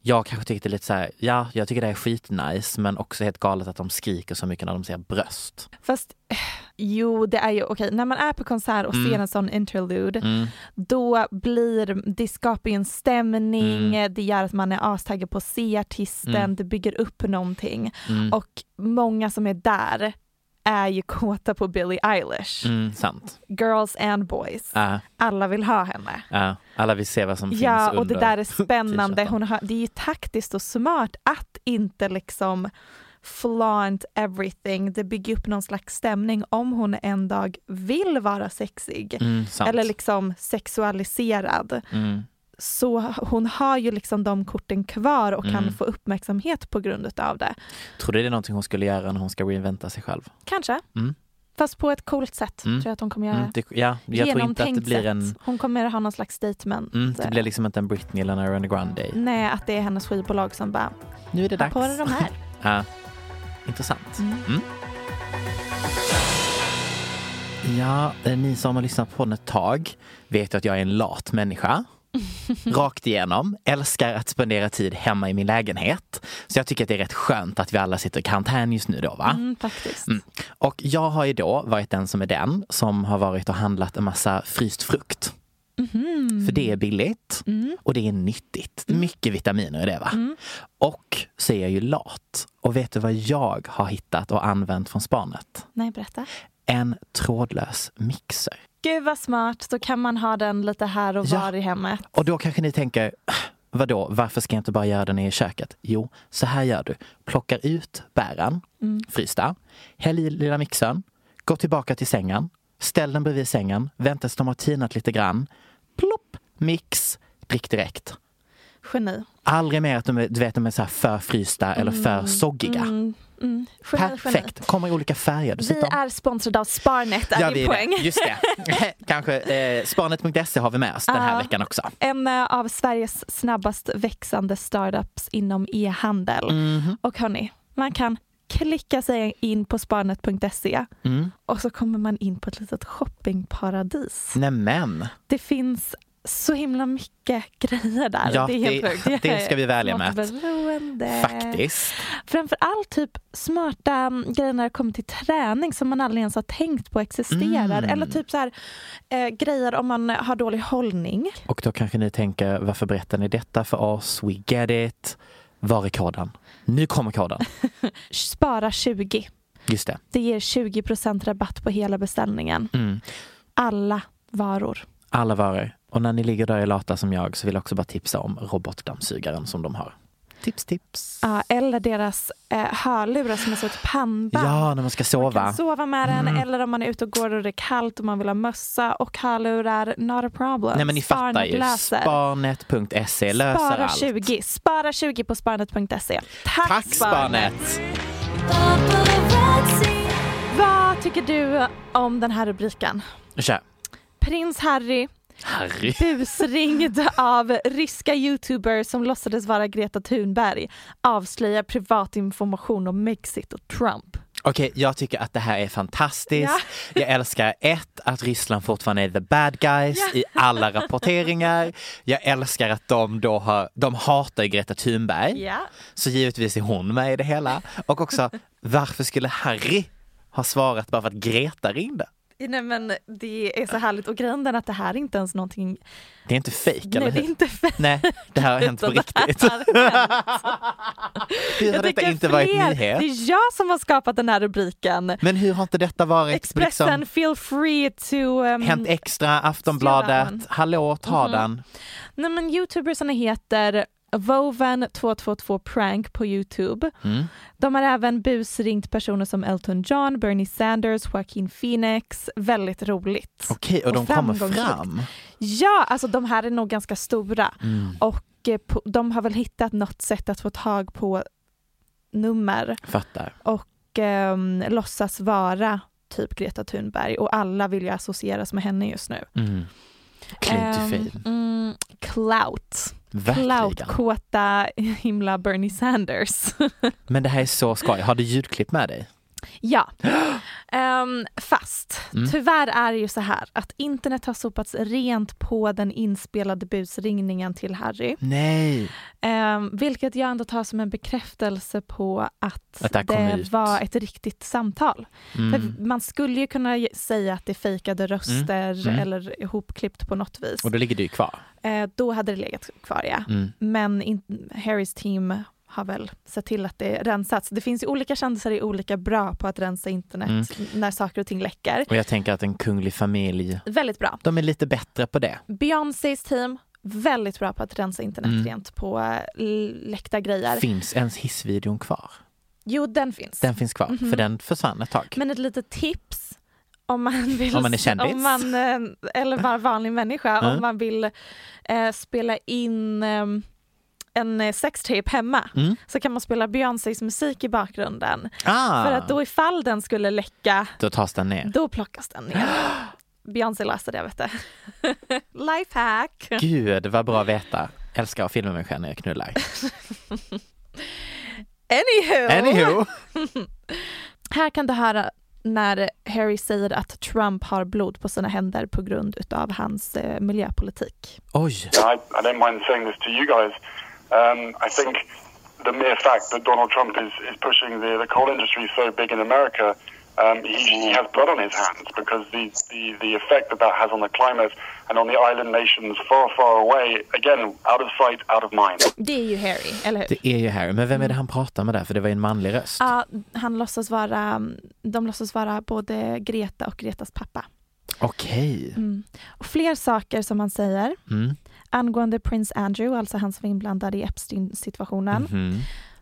Speaker 4: jag kanske tycker det är lite så här, ja, jag tycker det är skitnice men också helt galet att de skriker så mycket när de ser bröst.
Speaker 3: Fast eh, jo, det är ju okej, när man är på konsert och ser
Speaker 4: Mm.
Speaker 3: en sån interlude
Speaker 4: Mm.
Speaker 3: då blir, det skapar ju en stämning, det gör att man är astaggad på att se artisten,
Speaker 4: Mm.
Speaker 3: det bygger upp någonting.
Speaker 4: Mm.
Speaker 3: Och många som är där är ju kåta på Billie Eilish.
Speaker 4: Mm, sant. Ehm,
Speaker 3: Girls and boys.
Speaker 4: Ja,
Speaker 3: Alla vill ha henne.
Speaker 4: ja. alla vill se vad som
Speaker 3: Ja,
Speaker 4: finns
Speaker 3: och det
Speaker 4: under.
Speaker 3: där är spännande.
Speaker 4: t-shirten.
Speaker 3: Hon har, det är ju taktiskt och smart att inte liksom flaunt everything. Det bygger upp någon slags stämning om hon en dag vill vara sexig
Speaker 4: Mm, sant.
Speaker 3: eller liksom sexualiserad.
Speaker 4: Mm.
Speaker 3: Så hon har ju liksom de korten kvar och kan
Speaker 4: Mm.
Speaker 3: få uppmärksamhet på grund utav det.
Speaker 4: Tror du det är någonting hon skulle göra när hon ska reinventa sig själv?
Speaker 3: Kanske.
Speaker 4: Mm.
Speaker 3: Fast på ett coolt sätt
Speaker 4: Mm.
Speaker 3: tror jag att hon kommer göra.
Speaker 4: Mm, det, ja, jag tror inte att det
Speaker 3: Genomtänkt
Speaker 4: blir en...
Speaker 3: sätt. Hon kommer ha någon slags statement.
Speaker 4: Mm, det blir liksom inte en Britney eller en Ariana Grande.
Speaker 3: Nej, att det är hennes skivbolag som bara,
Speaker 4: Nu är det
Speaker 3: ha
Speaker 4: dags.
Speaker 3: på dig de här.
Speaker 4: Ja. Intressant.
Speaker 3: Mm.
Speaker 4: Mm. Ja, eh, ni som har lyssnat på den ett tag vet ju att jag är en lat människa. Rakt igenom. Älskar att spendera tid hemma i min lägenhet. Så jag tycker att det är rätt skönt att vi alla sitter i karantän just nu då va?
Speaker 3: Mm, faktiskt.
Speaker 4: Mm. Och jag har ju då varit den som är den som har varit och handlat en massa fryst frukt.
Speaker 3: Mhm.
Speaker 4: För det är billigt
Speaker 3: Mm.
Speaker 4: och det är nyttigt. Mycket vitaminer i det va?
Speaker 3: Mm.
Speaker 4: Och så är jag ju lat. Och vet du vad jag har hittat och använt från spanet?
Speaker 3: Nej, berätta.
Speaker 4: En trådlös mixer.
Speaker 3: Gud vad smart, då kan man ha den lite här och
Speaker 4: Ja.
Speaker 3: var i hemmet.
Speaker 4: Och då kanske ni tänker, "Äh, vadå, varför ska jag inte bara göra den i köket? Jo, så här gör du. Plockar ut bären,
Speaker 3: Mm.
Speaker 4: frysta, häll i lilla mixern, gå tillbaka till sängen, ställ den bredvid sängen, vänta tills de har tinat lite grann. Plopp, mix, drick direkt.
Speaker 3: Geni.
Speaker 4: Aldrig mer att de är, du vet, de är så här för frysta eller för soggiga.
Speaker 3: Mm. Mm. Geni,
Speaker 4: Perfekt, kommer i olika färger
Speaker 3: Geni. Vi
Speaker 4: dessutom.
Speaker 3: är sponsrade av Sparnet, är
Speaker 4: vi
Speaker 3: min poäng.
Speaker 4: Det. Just det. Kanske eh, Sparnet.se har vi med oss den här
Speaker 3: Ja.
Speaker 4: veckan också.
Speaker 3: En eh, av Sveriges snabbast växande startups inom e-handel.
Speaker 4: Mhm.
Speaker 3: Och hörni, man kan klicka sig in på sparnet.se
Speaker 4: Mm.
Speaker 3: och så kommer man in på ett litet shoppingparadis.
Speaker 4: Nämen,
Speaker 3: Det finns så himla mycket grejer där.
Speaker 4: Ja,
Speaker 3: det är helt
Speaker 4: det-
Speaker 3: sjukt. Jag
Speaker 4: det ska vi
Speaker 3: är
Speaker 4: välja med.
Speaker 3: smartberoende.
Speaker 4: faktiskt.
Speaker 3: Framförallt typ smarta mm, grejer när det kommer till träning som man aldrig ens har tänkt på existerar.
Speaker 4: Mm.
Speaker 3: Eller typ så här, eh, grejer om man har dålig hållning.
Speaker 4: Och då kanske ni tänker, varför berättar ni detta för oss? We get it. Var är koden? Nu kommer koden.
Speaker 3: Spara 20.
Speaker 4: Just det.
Speaker 3: Det ger 20 rabatt på hela beställningen.
Speaker 4: Mm.
Speaker 3: Alla varor.
Speaker 4: Alla varor. Och när ni ligger där och är lata som jag så vill jag också bara tipsa om robotdammsugaren som de har. Tips, tips.
Speaker 3: Ja, eller deras eh, hörlurar som är som ett pannband.
Speaker 4: Ja, när man ska
Speaker 3: Man
Speaker 4: sova.
Speaker 3: kan sova med den
Speaker 4: Mm.
Speaker 3: eller om man är ute och går och det är kallt och man vill ha mössa och hörlurar. Not a problem.
Speaker 4: Nej men ni fattar
Speaker 3: Sparnet
Speaker 4: ju.
Speaker 3: löser.
Speaker 4: Sparnet.se E löser
Speaker 3: Spara
Speaker 4: allt.
Speaker 3: 20. Spara 20 på sparnet.se. Tack,
Speaker 4: Tack Sparnet!
Speaker 3: Vad tycker du om den här rubriken?
Speaker 4: Kör.
Speaker 3: Prins Harry
Speaker 4: Harry.
Speaker 3: busringd av ryska youtubers som låtsades vara Greta Thunberg avslöjar privat information om Mexit och Trump.
Speaker 4: Okej, jag tycker att det här är fantastiskt. Jag älskar ett, att Ryssland fortfarande är the bad guys i alla rapporteringar. Jag älskar att de då har, de hatar Greta Thunberg.
Speaker 3: Ja.
Speaker 4: Så givetvis är hon med i det hela. Och också, varför skulle Harry ha svarat bara för att Greta ringde?
Speaker 3: Nej men det är så härligt och grejen är att det här är inte ens någonting,
Speaker 4: Det är inte fejk, eller
Speaker 3: nej
Speaker 4: hur?
Speaker 3: det är inte fett.
Speaker 4: Nej, det här har hänt på riktigt. Hur har detta
Speaker 3: tycker
Speaker 4: inte varit
Speaker 3: fler-
Speaker 4: nyhet?
Speaker 3: Det är jag som har skapat den här rubriken.
Speaker 4: Men hur har inte detta varit
Speaker 3: Expressen,
Speaker 4: liksom,
Speaker 3: feel free to... ehm,
Speaker 4: Hänt Extra, Aftonbladet,
Speaker 3: Stora.
Speaker 4: hallå, ta
Speaker 3: Mhm.
Speaker 4: den.
Speaker 3: Nej men youtubersarna heter Voven222 Prank på Youtube.
Speaker 4: Mm.
Speaker 3: De har även busringt personer som Elton John, Bernie Sanders, Joaquin Phoenix. Väldigt roligt.
Speaker 4: Okej, och, de kommer
Speaker 3: framgångsrikt.
Speaker 4: fram.
Speaker 3: Ja, alltså de här är nog ganska stora.
Speaker 4: Mm.
Speaker 3: Och eh, po- de har väl hittat något sätt att få tag på nummer
Speaker 4: Fattar.
Speaker 3: och eh, låtsas vara typ Greta Thunberg och alla vill ju associeras med henne just nu.
Speaker 4: Mm. Klint
Speaker 3: Ehm,
Speaker 4: um, fin.
Speaker 3: mm, clout.
Speaker 4: Verkligen.
Speaker 3: Cloutkåta himla Bernie Sanders.
Speaker 4: Men det här är så skoj. Har du ljudklipp med dig?
Speaker 3: ja. Ehm, fast
Speaker 4: Mm.
Speaker 3: tyvärr är det ju så här att internet har sopats rent på den inspelade busringningen till Harry.
Speaker 4: Nej.
Speaker 3: Ehm, vilket jag ändå tar som en bekräftelse på att,
Speaker 4: Att det här kom
Speaker 3: det
Speaker 4: ut.
Speaker 3: var ett riktigt samtal.
Speaker 4: Mm.
Speaker 3: För man skulle ju kunna ge- säga att det fejkade röster
Speaker 4: Mm.
Speaker 3: eller ihopklippt på något vis.
Speaker 4: Och då ligger du ju kvar.
Speaker 3: Eh, då hade det legat kvar ja.
Speaker 4: Mm.
Speaker 3: Men in- Harrys team har väl sett till att det rensats. Det finns ju olika kändisar är olika bra på att rensa internet
Speaker 4: Mm.
Speaker 3: när saker och ting läcker.
Speaker 4: Och jag tänker att en kunglig familj,
Speaker 3: Väldigt bra.
Speaker 4: de är lite bättre på det.
Speaker 3: Beyoncés team, väldigt bra på att rensa internet
Speaker 4: Mm.
Speaker 3: rent på eh, l- läckta grejer.
Speaker 4: Finns ens hissvideon kvar?
Speaker 3: Jo, den finns.
Speaker 4: Den finns kvar,
Speaker 3: Mhm.
Speaker 4: för den försvann ett tag.
Speaker 3: Men ett litet tips om man vill...
Speaker 4: Om man är kändis.
Speaker 3: om man, eh, eller bara vanlig människa.
Speaker 4: Mm.
Speaker 3: Om man vill eh, spela in eh, en eh, sextape hemma
Speaker 4: Mm.
Speaker 3: så kan man spela Beyoncés musik i bakgrunden.
Speaker 4: Ah,
Speaker 3: För att då ifall den skulle läcka,
Speaker 4: då tas den ner.
Speaker 3: då plockas den ner. Beyoncé löste det vet du. Lifehack!
Speaker 4: Gud vad bra att veta. Älskar att filma mig själv när jag knullar.
Speaker 3: Anywho!
Speaker 4: Anywho.
Speaker 3: Här kan du höra när Harry säger att Trump har blod på sina händer på grund utav hans eh, miljöpolitik.
Speaker 4: Oj.
Speaker 10: I, I don't mind saying this to you guys. Um, I think the mere fact that Donald Trump is, is pushing the, the coal industry so big in America, um, he, he has blood on his hands because the, the, the effect that that has on the climate and on the island nations far, far away, again, out of sight, out of mind.
Speaker 3: Det är ju Harry, eller hur?
Speaker 4: Det är ju Harry, men vem är det han pratar med där? För det var ju en manlig röst.
Speaker 3: Ja, han låtsas vara, mm, de låtsas vara både Greta och Gretas pappa.
Speaker 4: Okej.
Speaker 3: Mm. Och fler saker som han säger
Speaker 4: Mm.
Speaker 3: angående prins Andrew, alltså han som var inblandad i Epstein-situationen.
Speaker 4: Mhm.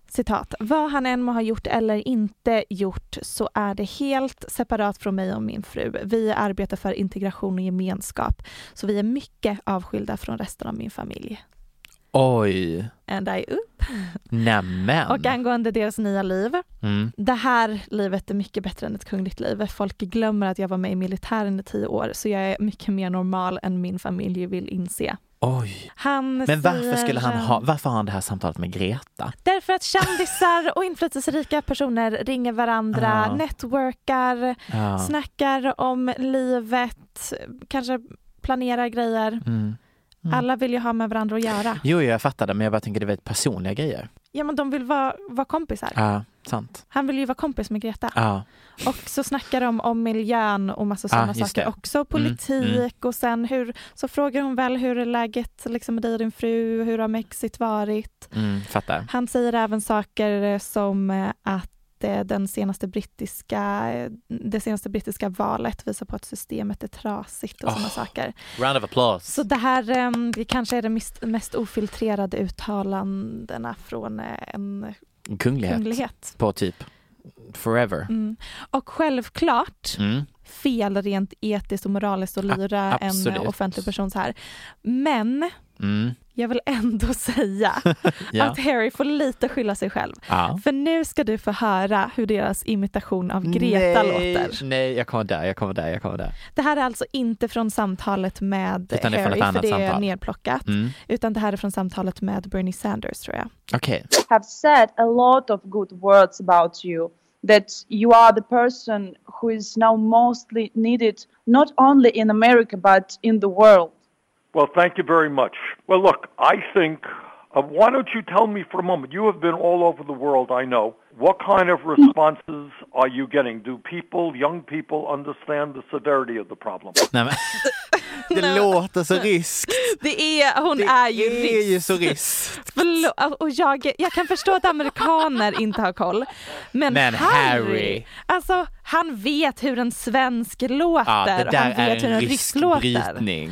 Speaker 3: Citat. Vad han än må ha gjort eller inte gjort så är det helt separat från mig och min fru. Vi arbetar för integration och gemenskap, så vi är mycket avskilda från resten av min familj.
Speaker 4: Oj.
Speaker 3: And I up.
Speaker 4: Mm. Nämen.
Speaker 3: Och angående deras nya liv.
Speaker 4: Mm.
Speaker 3: Det här livet är mycket bättre än ett kungligt liv. Folk glömmer att jag var med i militären i tio år, så jag är mycket mer normal än min familj vill inse.
Speaker 4: Oj.
Speaker 3: Han
Speaker 4: Men varför
Speaker 3: säger,
Speaker 4: skulle han
Speaker 3: eh,
Speaker 4: ha, varför har han det här samtalet med Greta?
Speaker 3: Därför att kändisar och inflytelserika personer ringer varandra,
Speaker 4: Ja.
Speaker 3: networkar,
Speaker 4: Ja.
Speaker 3: snackar om livet, kanske planerar grejer.
Speaker 4: Mm.
Speaker 3: Alla vill ju ha med varandra att göra.
Speaker 4: Jo, jag fattade, men jag bara tänker det är väldigt personliga grejer.
Speaker 3: Ja men de vill vara, vara kompisar.
Speaker 4: Ja, sant.
Speaker 3: Han vill ju vara kompis med Greta.
Speaker 4: Ja.
Speaker 3: Och så snackar de om miljön och massa
Speaker 4: Ja,
Speaker 3: sådana
Speaker 4: just
Speaker 3: saker
Speaker 4: det.
Speaker 3: också.
Speaker 4: Mm,
Speaker 3: Politik
Speaker 4: mm.
Speaker 3: och sen hur, så frågar hon väl hur är läget liksom med dig och din fru, hur har Mexit varit?
Speaker 4: Mm, fattar.
Speaker 3: Han säger även saker eh, som eh, att eh, den senaste brittiska, eh, det senaste brittiska valet visar på att systemet är trasigt och
Speaker 4: Oh.
Speaker 3: sådana saker.
Speaker 4: Round of applause.
Speaker 3: Så det här eh, det kanske är de mest, mest ofiltrerade uttalandena från eh, en
Speaker 4: Kunglighet.
Speaker 3: kunglighet.
Speaker 4: På typ forever.
Speaker 3: Mm. Och självklart
Speaker 4: Mm.
Speaker 3: fel rent etiskt och moraliskt att lyra en
Speaker 4: absolut.
Speaker 3: eh, offentlig person så här. Men
Speaker 4: Mm.
Speaker 3: jag vill ändå säga
Speaker 4: Ja.
Speaker 3: att Harry får lite skylla sig själv.
Speaker 4: Ja.
Speaker 3: För nu ska du få höra hur deras imitation av Greta
Speaker 4: nej,
Speaker 3: låter.
Speaker 4: Nej, jag kommer där, jag kommer där, jag kommer där.
Speaker 3: Det här är alltså inte från samtalet med
Speaker 4: Utan det är från
Speaker 3: Harry,
Speaker 4: ett annat
Speaker 3: för det är
Speaker 4: samtal.
Speaker 3: nerplockat.
Speaker 4: Mm.
Speaker 3: Utan det här är från samtalet med Bernie Sanders tror jag.
Speaker 4: Okej.
Speaker 11: have said a lot of good words about you. that you are the person who is now mostly needed, not only in America, but in the world.
Speaker 12: Well, thank you very much. Well, look, I think, uh, why don't you tell me for a moment? You have been all over the world, I know. What kind of responses are you getting? Do people, young people, understand the severity of the problem?
Speaker 4: Nej, men, det låter så ryskt.
Speaker 3: Det är, hon är ju
Speaker 4: Det är
Speaker 3: rysk.
Speaker 4: ju så ryskt.
Speaker 3: Förlåt, och jag, jag kan förstå att amerikaner inte har koll. Men,
Speaker 4: Men Harry.
Speaker 3: Alltså han vet hur en svensk låter.
Speaker 4: Ja, det
Speaker 3: han
Speaker 4: där
Speaker 3: vet
Speaker 4: är
Speaker 3: hur
Speaker 4: en
Speaker 3: en
Speaker 4: rysk
Speaker 3: rysk låter.
Speaker 4: brytning.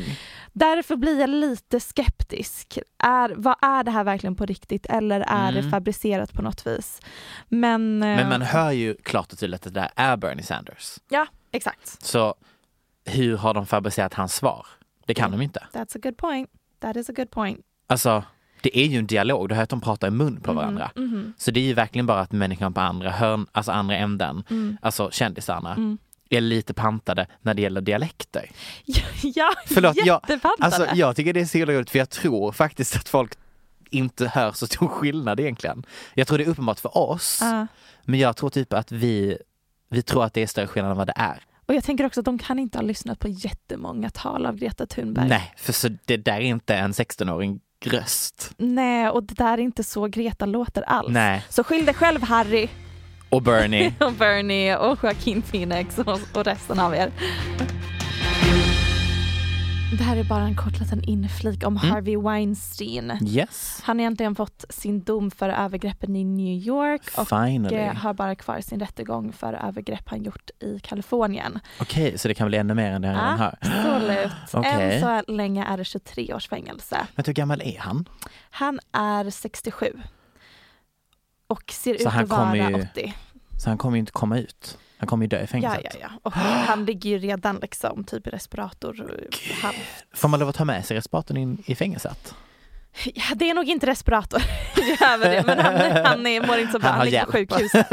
Speaker 3: Därför blir jag lite skeptisk. Är, vad är det här verkligen på riktigt eller är
Speaker 4: Mm.
Speaker 3: det fabricerat på något vis? Men, eh,
Speaker 4: Men man hör ju klart och tydligt att det där är Bernie Sanders.
Speaker 3: Ja, exakt.
Speaker 4: Så hur har de fabricerat hans svar? Det kan de inte.
Speaker 3: That's a good point. That is a good point.
Speaker 4: Alltså, det är ju en dialog. Du hör att de pratar i mun på varandra.
Speaker 3: mhm.
Speaker 4: Så det är ju verkligen bara att människan på andra hörn, alltså andra änden,
Speaker 3: Mm.
Speaker 4: alltså kändisarna,
Speaker 3: Mm.
Speaker 4: är lite pantade när det gäller dialekter.
Speaker 3: Ja,
Speaker 4: Förlåt, jag,
Speaker 3: jättepantade.
Speaker 4: alltså, jag tycker det är så himla roligt för jag tror faktiskt att folk inte hör så stor skillnad egentligen. Jag tror det är uppenbart för oss,
Speaker 3: Ja.
Speaker 4: men jag tror typ att vi, vi tror att det är större skillnad än vad det är.
Speaker 3: Och jag tänker också att de kan inte ha lyssnat på jättemånga tal av Greta Thunberg.
Speaker 4: Nej, för så det där är inte en 16-åring röst.
Speaker 3: Nej, och det där är inte så Greta låter alls.
Speaker 4: Nej.
Speaker 3: Så skyll dig själv Harry
Speaker 4: Och Bernie.
Speaker 3: och Bernie och Joaquin Phoenix och, och resten av er. Det här är bara en kort liten inflik om
Speaker 4: Mm.
Speaker 3: Harvey Weinstein.
Speaker 4: Yes.
Speaker 3: Han har egentligen fått sin dom för övergreppen i New York och
Speaker 4: Finally.
Speaker 3: eh, har bara kvar sin rättegång för övergrepp han gjort i Kalifornien.
Speaker 4: Okej, så det kan bli ännu mer än det
Speaker 3: Ah,
Speaker 4: jag redan hör.
Speaker 3: Absolut.
Speaker 4: Ah, Okej.
Speaker 3: Än så länge är det 23 års fängelse.
Speaker 4: Men hur gammal är han?
Speaker 3: Han är 67 och ser
Speaker 4: Så
Speaker 3: ut
Speaker 4: han
Speaker 3: att vara
Speaker 4: kommer ju-
Speaker 3: 80.
Speaker 4: Så han kommer ju inte komma ut. Han kommer ju dö i
Speaker 3: Ja,
Speaker 4: fängelset.
Speaker 3: ja, ja. Och han ligger ju redan liksom typ i respirator. Han,
Speaker 4: Får man lov att ta med sig respiratorn in i fängelset?
Speaker 3: ja, det är nog inte respirator, över det, men han, han är, mår inte så bra, han,
Speaker 4: Han har
Speaker 3: ligger på
Speaker 4: hjälp.
Speaker 3: sjukhuset.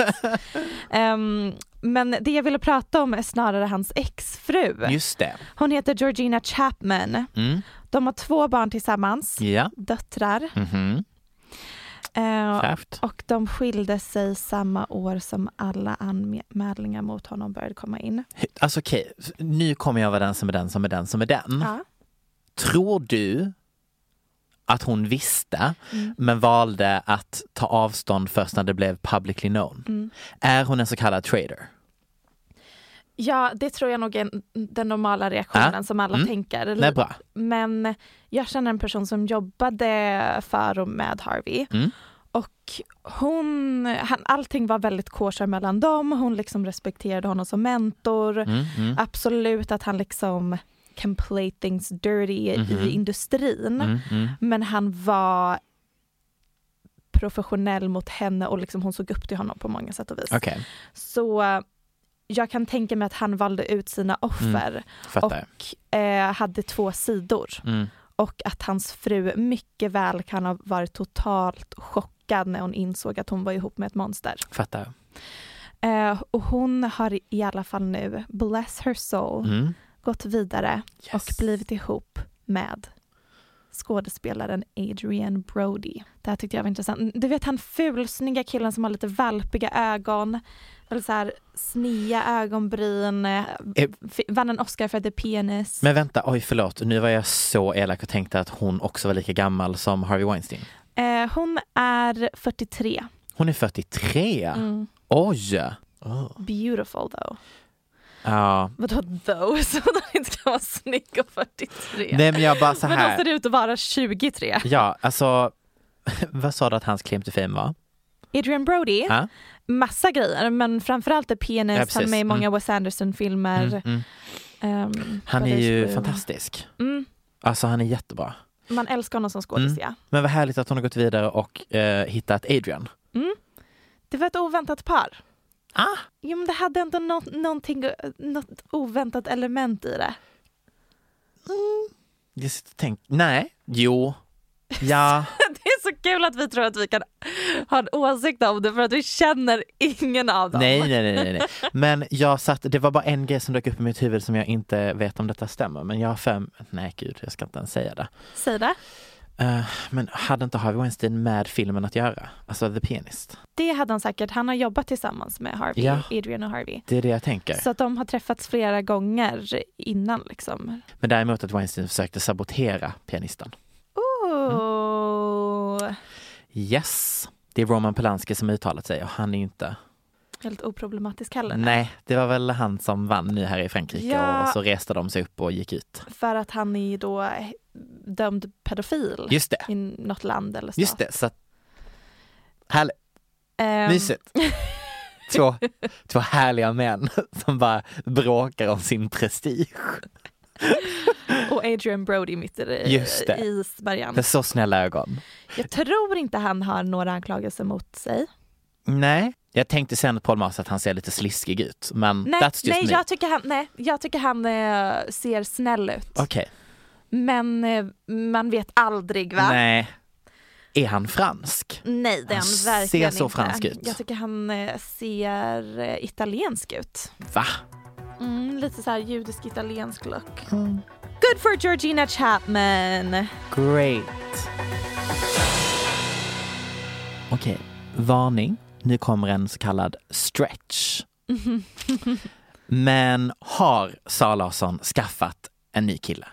Speaker 3: Ehm, men det jag ville prata om är snarare hans exfru.
Speaker 4: Just det.
Speaker 3: Hon heter Georgina Chapman.
Speaker 4: Mm.
Speaker 3: De har två barn tillsammans,
Speaker 4: Ja.
Speaker 3: döttrar.
Speaker 4: Mhm.
Speaker 3: Eh,
Speaker 4: Fräscht.
Speaker 3: och de skilde sig samma år som alla anmälningar mot honom började komma in.
Speaker 4: Alltså okej, nu kommer jag vara den som är den som är den som är den.
Speaker 3: Ja.
Speaker 4: Tror du att hon visste
Speaker 3: Mm.
Speaker 4: men valde att ta avstånd först när det blev publicly known?
Speaker 3: Mm.
Speaker 4: Är hon en så kallad trader?
Speaker 3: Ja, det tror jag nog är den normala reaktionen
Speaker 4: Ja.
Speaker 3: som alla
Speaker 4: Mm.
Speaker 3: tänker.
Speaker 4: Nej, bra.
Speaker 3: Men jag känner en person som jobbade för och med Harvey.
Speaker 4: Mm.
Speaker 3: Och hon, han, allting var väldigt kosher mellan dem. Hon liksom respekterade honom som mentor.
Speaker 4: Mm, mm.
Speaker 3: Absolut att han liksom can play things dirty
Speaker 4: Mhm.
Speaker 3: i industrin.
Speaker 4: Mm, mm.
Speaker 3: Men han var professionell mot henne och liksom hon såg upp till honom på många sätt och vis.
Speaker 4: Okej,
Speaker 3: Så eh, jag kan tänka mig att han valde ut sina
Speaker 4: Mm.
Speaker 3: offer
Speaker 4: fattar.
Speaker 3: och eh, hade två sidor.
Speaker 4: Mm.
Speaker 3: Och att hans fru mycket väl kan ha varit totalt chockad när hon insåg att hon var ihop med ett monster.
Speaker 4: Fattar.
Speaker 3: Eh, och hon har i alla fall nu, bless her soul,
Speaker 4: Mm.
Speaker 3: gått vidare och blivit ihop med skådespelaren Adrian Brody. Det här tyckte jag var intressant. Du vet han fulsnygga killen som har lite valpiga ögon, eller så här snea ögonbryn, eh,
Speaker 4: Eh.
Speaker 3: f- vann en Oscar för The Pianist.
Speaker 4: Men vänta, oj förlåt, nu var jag så elak och tänkte att hon också var lika gammal som Harvey Weinstein.
Speaker 3: Eh, hon är 43.
Speaker 4: Hon är 43!
Speaker 3: Mm.
Speaker 4: Oj! Oh.
Speaker 3: Beautiful though.
Speaker 4: Ja.
Speaker 3: Vadå though? Så hon inte kan vara snygg och 43.
Speaker 4: Nej men jag bara så
Speaker 3: Men hon
Speaker 4: här.
Speaker 3: ser ut att vara 23.
Speaker 4: Ja, alltså, vad sa du att hans claim to fame var?
Speaker 3: Adrian Brody,
Speaker 4: Ja.
Speaker 3: massa grejer men framförallt The
Speaker 4: Ja,
Speaker 3: Pianist,
Speaker 4: precis.
Speaker 3: han är med i många
Speaker 4: Mm.
Speaker 3: Wes Anderson-filmer.
Speaker 4: Mm, mm.
Speaker 3: Ehm,
Speaker 4: Han är
Speaker 3: Brothers
Speaker 4: ju
Speaker 3: Bloom.
Speaker 4: fantastisk.
Speaker 3: Mm,
Speaker 4: Alltså han är jättebra.
Speaker 3: man älskar honom som
Speaker 4: Mm.
Speaker 3: skådis ja.
Speaker 4: Men vad härligt att hon har gått vidare och eh, hittat Adrian.
Speaker 3: Mm. Det var ett oväntat par.
Speaker 4: Ah.
Speaker 3: Jo men det hade ändå nå- någonting, något oväntat element i det.
Speaker 4: Jag sitter och tänker, nej, jo, ja,
Speaker 3: Det är så kul att vi tror att vi kan ha en åsikt om det för att vi känner ingen av dem.
Speaker 4: nej, nej, nej, nej, nej. Men jag satt, det var bara en grej som dök upp i mitt huvud som jag inte vet om detta stämmer, men jag har fem, nej gud, jag ska inte ens säga det.
Speaker 3: Säg det.
Speaker 4: Eh, men hade inte Harvey Weinstein med filmen att göra? Alltså The Pianist?
Speaker 3: Det hade han säkert. Han har jobbat tillsammans med Harvey,
Speaker 4: Ja.
Speaker 3: Adrian och Harvey.
Speaker 4: Det är det jag tänker.
Speaker 3: Så att de har träffats flera gånger innan liksom.
Speaker 4: Men däremot att Weinstein försökte sabotera pianisten.
Speaker 3: Ooh.
Speaker 4: Yes, det är Roman Polanski som uttalat sig och han är ju inte...
Speaker 3: Helt oproblematisk heller.
Speaker 4: Nej, det var väl han som vann nu här i Frankrike
Speaker 3: Ja.
Speaker 4: och så reste de sig upp och gick ut.
Speaker 3: För att han är ju då dömd pedofil
Speaker 4: Just det.
Speaker 3: i något land eller så.
Speaker 4: Just det, så att... Härligt,
Speaker 3: Ehm,
Speaker 4: mysigt. Två, två härliga män som bara bråkar om sin prestige.
Speaker 3: och Adrian Brody mitt i, det-
Speaker 4: Just det.
Speaker 3: i isbergen.
Speaker 4: Med så snälla ögon.
Speaker 3: Jag tror inte han har några anklagelser mot sig.
Speaker 4: Nej, jag tänkte sen Paul Mars att han ser lite sliskig ut, men
Speaker 3: Nej,
Speaker 4: that's just
Speaker 3: nej,
Speaker 4: me.
Speaker 3: jag, tycker han, nej jag tycker han eh, ser snäll ut.
Speaker 4: Okej,
Speaker 3: Men eh, man vet aldrig va?
Speaker 4: nej. Är han fransk?
Speaker 3: Nej, det är
Speaker 4: Han
Speaker 3: han
Speaker 4: ser
Speaker 3: verkligen
Speaker 4: så
Speaker 3: inte.
Speaker 4: fransk ut.
Speaker 3: Jag tycker han eh, ser eh, italiensk ut.
Speaker 4: Va?
Speaker 3: Mm, lite så här judisk-italiensk look.
Speaker 4: Mm.
Speaker 3: Good for Georgina Chapman!
Speaker 4: Great. Okej, varning. Nu kommer en så kallad stretch. Men har Sara Larsson skaffat en ny kille?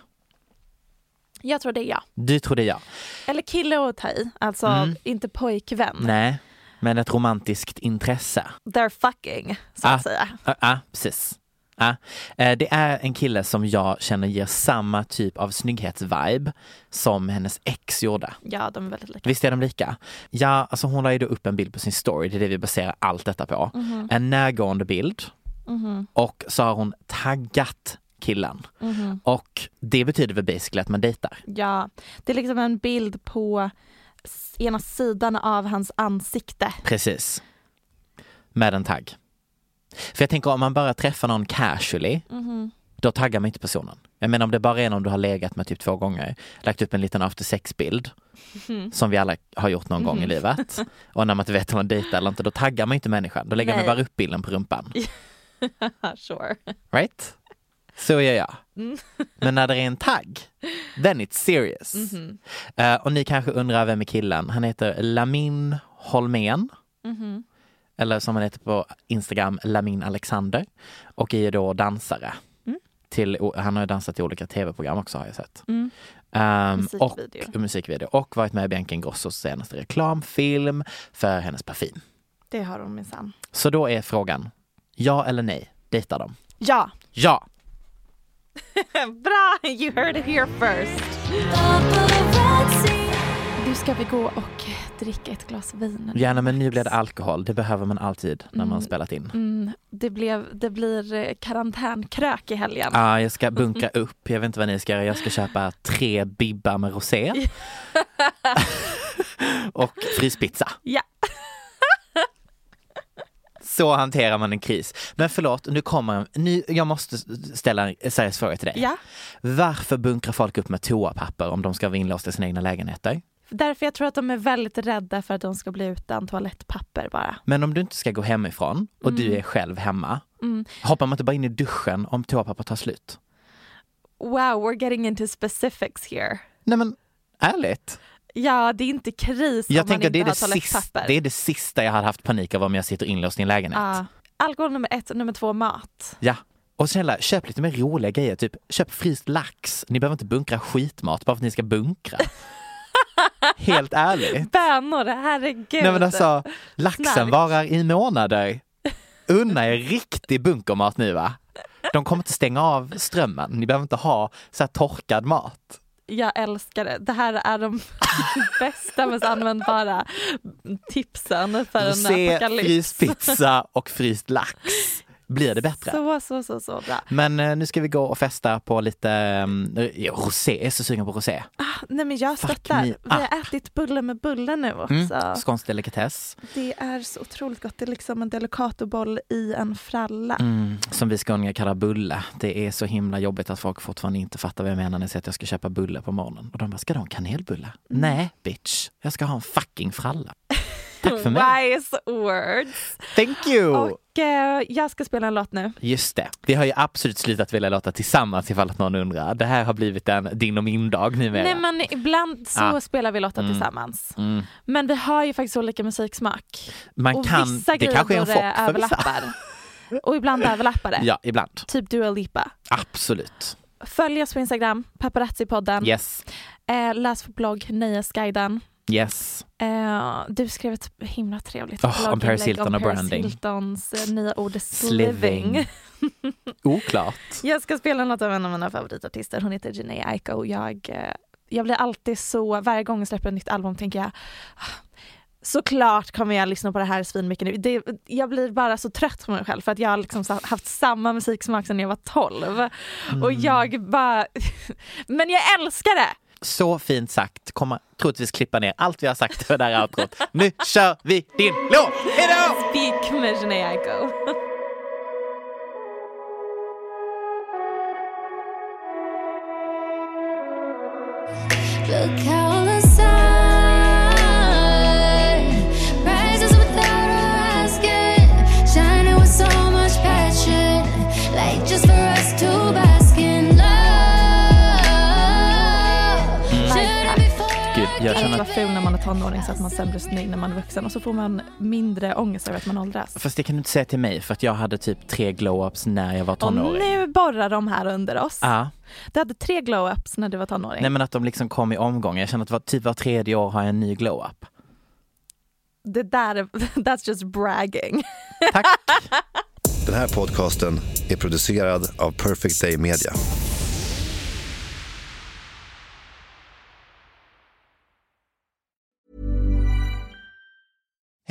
Speaker 3: Jag tror det är jag.
Speaker 4: Du trodde ja.
Speaker 3: Eller kille att ta i, alltså
Speaker 4: Mm.
Speaker 3: inte pojkvän.
Speaker 4: Nej, men ett romantiskt intresse.
Speaker 3: They're fucking, så att
Speaker 4: Ah,
Speaker 3: säga.
Speaker 4: Ja, ah, precis. Ah. Eh, det är en kille som jag känner ger samma typ av snygghetsvibe som hennes ex gjorde.
Speaker 3: Ja, de är väldigt lika.
Speaker 4: Visst är de lika? Ja, alltså hon la ju då upp en bild på sin story, det är det vi baserar allt detta på.
Speaker 3: Mhm.
Speaker 4: En närgående bild
Speaker 3: Mhm.
Speaker 4: och så har hon taggat killen.
Speaker 3: Mhm.
Speaker 4: Och det betyder väl basically att man dejtar.
Speaker 3: Ja, det är liksom en bild på s- ena sidan av hans ansikte.
Speaker 4: Precis. Med en tagg. För jag tänker om man bara träffar någon casually,
Speaker 3: Mhm.
Speaker 4: då taggar man inte personen. Jag menar om det bara är någon du har legat med typ två gånger, lagt upp en liten after sex-bild,
Speaker 3: Mhm.
Speaker 4: som vi alla har gjort någon gång i
Speaker 9: Mhm.
Speaker 4: livet. Och när man inte vet om man dejtar eller inte, då taggar man inte människan. Då lägger
Speaker 3: Nej.
Speaker 4: man bara upp bilden på rumpan.
Speaker 3: sure.
Speaker 4: Right? Så gör jag.
Speaker 3: Mm.
Speaker 4: Men när det är en tagg, then it's serious.
Speaker 3: Mhm.
Speaker 4: Eh, och ni kanske undrar vem är killen? Han heter Lamin Holmén.
Speaker 3: Mhm.
Speaker 4: eller som han heter på Instagram, Lamin Alexander. Och är då dansare.
Speaker 3: Mm.
Speaker 4: Till, och han har ju dansat i olika tv-program också har jag sett.
Speaker 3: Mm.
Speaker 4: Ehm,
Speaker 3: Musikvideo.
Speaker 4: Och, musikvideo. Och varit med i Bianca Ingrossos senaste reklamfilm för hennes parfym.
Speaker 3: Det har hon minsann.
Speaker 4: Så då är frågan, ja eller nej, dejtar de?
Speaker 3: Ja,
Speaker 4: Ja!
Speaker 3: bra! You heard it here first. Nu ska vi gå och dricka ett glas vin.
Speaker 4: Gärna men nu blir det alkohol, det behöver man alltid när man
Speaker 3: Mm.
Speaker 4: spelat in.
Speaker 3: Mm, det, blev, det blir eh, karantänkrök i helgen.
Speaker 4: Ja, Ah, jag ska bunkra upp. Jag vet inte vad ni ska göra. Jag ska köpa tre bibbar med rosé. och fryspizza.
Speaker 3: Ja.
Speaker 4: Så hanterar man en kris. Men förlåt, nu kommer en, nu, jag måste ställa en seriös fråga till dig.
Speaker 3: Ja.
Speaker 4: Varför bunkrar folk upp med toapapper om de ska vara inlåsta i sina egna lägenheter?
Speaker 3: Därför jag tror att de är väldigt rädda för att de ska bli utan toalettpapper bara.
Speaker 4: Men om du inte ska gå hemifrån och du
Speaker 3: Mm.
Speaker 4: är själv hemma,
Speaker 3: Mm.
Speaker 4: hoppar man inte bara in i duschen om toapapper tar slut?
Speaker 3: Wow, we're getting into specifics here.
Speaker 4: Nej men ärligt.
Speaker 3: Ja, det är inte kris
Speaker 4: Jag
Speaker 3: om man
Speaker 4: tänker
Speaker 3: inte
Speaker 4: det är
Speaker 3: har
Speaker 4: det, sista,
Speaker 3: toalettpapper.
Speaker 4: det är det sista jag hade haft panik av om jag sitter inlåst i en lägenhet.
Speaker 3: Ja. Alkohol nummer ett och nummer två mat.
Speaker 4: Ja. Och snälla, köp lite mer roliga grejer. Typ, köp fryst lax. Ni behöver inte bunkra skitmat bara för att ni ska bunkra. Helt ärligt.
Speaker 3: Bönor, herregud.
Speaker 4: Nej men alltså, laxen
Speaker 3: Snark.
Speaker 4: varar i månader. Unna er riktig bunkermat nu va. De kommer inte stänga av strömmen. Ni behöver inte ha så här torkad mat.
Speaker 3: Jag älskar det. Det här är de bästa mest användbara tipsen för en
Speaker 4: Se
Speaker 3: apokalyps.
Speaker 4: fryspizza och fryst lax. Blir det bättre?
Speaker 3: Så, så, så, så bra.
Speaker 4: Men eh, nu ska vi gå och festa på lite um, rosé. Jag är så sugen på rosé.
Speaker 3: Ah, nej men jag stöttar.
Speaker 4: me
Speaker 3: Vi har ätit bulle med bulle nu också.
Speaker 4: Mm. Skånsk delikatess.
Speaker 3: Det är så otroligt gott. Det är liksom en delicatoboll i en fralla.
Speaker 4: Mm, som vi skåningar kallar bulle. Det är så himla jobbigt att folk fortfarande inte fattar vad jag menar när jag säger att jag ska köpa
Speaker 3: Mm.
Speaker 4: bulle på morgonen. Och de bara, ska du ha en kanelbulle? Nej bitch, jag ska ha en fucking fralla. Tack för mig. Oh.
Speaker 3: Wise words.
Speaker 4: Thank you!
Speaker 3: Och eh, jag ska spela en låt nu.
Speaker 4: Just det. Vi har ju absolut slutat välja låtar tillsammans ifall att någon undrar. Det här har blivit en din och min dag numera.
Speaker 3: Nej men ibland så
Speaker 4: Ah.
Speaker 3: spelar vi låtar
Speaker 4: Mm.
Speaker 3: tillsammans.
Speaker 4: Mm.
Speaker 3: Men vi har ju faktiskt olika musiksmak.
Speaker 4: Man
Speaker 3: och
Speaker 4: kan-
Speaker 3: vissa
Speaker 4: det
Speaker 3: grejer
Speaker 4: kanske är en
Speaker 3: då
Speaker 4: chock för vissa.
Speaker 3: överlappar. Och ibland överlappar det.
Speaker 4: Ja, ibland.
Speaker 3: Typ Dua Lipa.
Speaker 4: Absolut.
Speaker 3: Följ oss på Instagram, paparazzi-podden.
Speaker 4: Yes.
Speaker 3: Eh, läs vår blogg, Nöjesguiden.
Speaker 4: Yes.
Speaker 3: Eh, du skrev ett himla trevligt
Speaker 4: Oh, om
Speaker 3: blogginlägg
Speaker 4: Paris Hilton
Speaker 3: om
Speaker 4: och
Speaker 3: Paris
Speaker 4: branding.
Speaker 3: Hiltons eh, nya ord
Speaker 4: Sliving.
Speaker 3: sliving.
Speaker 4: Oklart.
Speaker 3: jag ska spela något av en av mina favoritartister. Hon heter Jhené Aiko och jag, eh, jag blir alltid så, varje gång jag släpper ett nytt album tänker jag "Ah, Såklart kommer jag lyssna på det här svinmycket nu. Det, jag blir bara så trött på mig själv för att jag har liksom sa- haft samma musiksmak sedan jag var 12.
Speaker 4: Mm.
Speaker 3: Och jag bara... Men jag älskar det!
Speaker 4: Så fint sagt. Kommer troligtvis klippa ner allt vi har sagt för det här outrot. Nu kör vi din låt! Hejdå!
Speaker 3: Speak med Jhené Aiko.
Speaker 13: Look how the sun rises without her asking, shining with so much passion, like just for us to bask in love. Should've been
Speaker 4: Gud, jag
Speaker 3: Att
Speaker 4: känner
Speaker 3: vara
Speaker 4: att...
Speaker 3: ful när man är tonåring så att man sen blir snygg när man är vuxen och så får man mindre ångest över att man åldras.
Speaker 4: Fast det kan du inte säga till mig för att jag hade typ tre glow-ups när jag var
Speaker 3: Och
Speaker 4: tonåring.
Speaker 3: nu borrar de här under oss.
Speaker 4: Ja.
Speaker 3: Du hade tre glow-ups när du var tonåring.
Speaker 4: Nej men att de liksom kom i omgångar. Jag känner att var, typ var tredje år har jag en ny glow-up.
Speaker 3: Det där, är- that's just bragging.
Speaker 5: Den här podcasten är producerad av Perfect Day Media.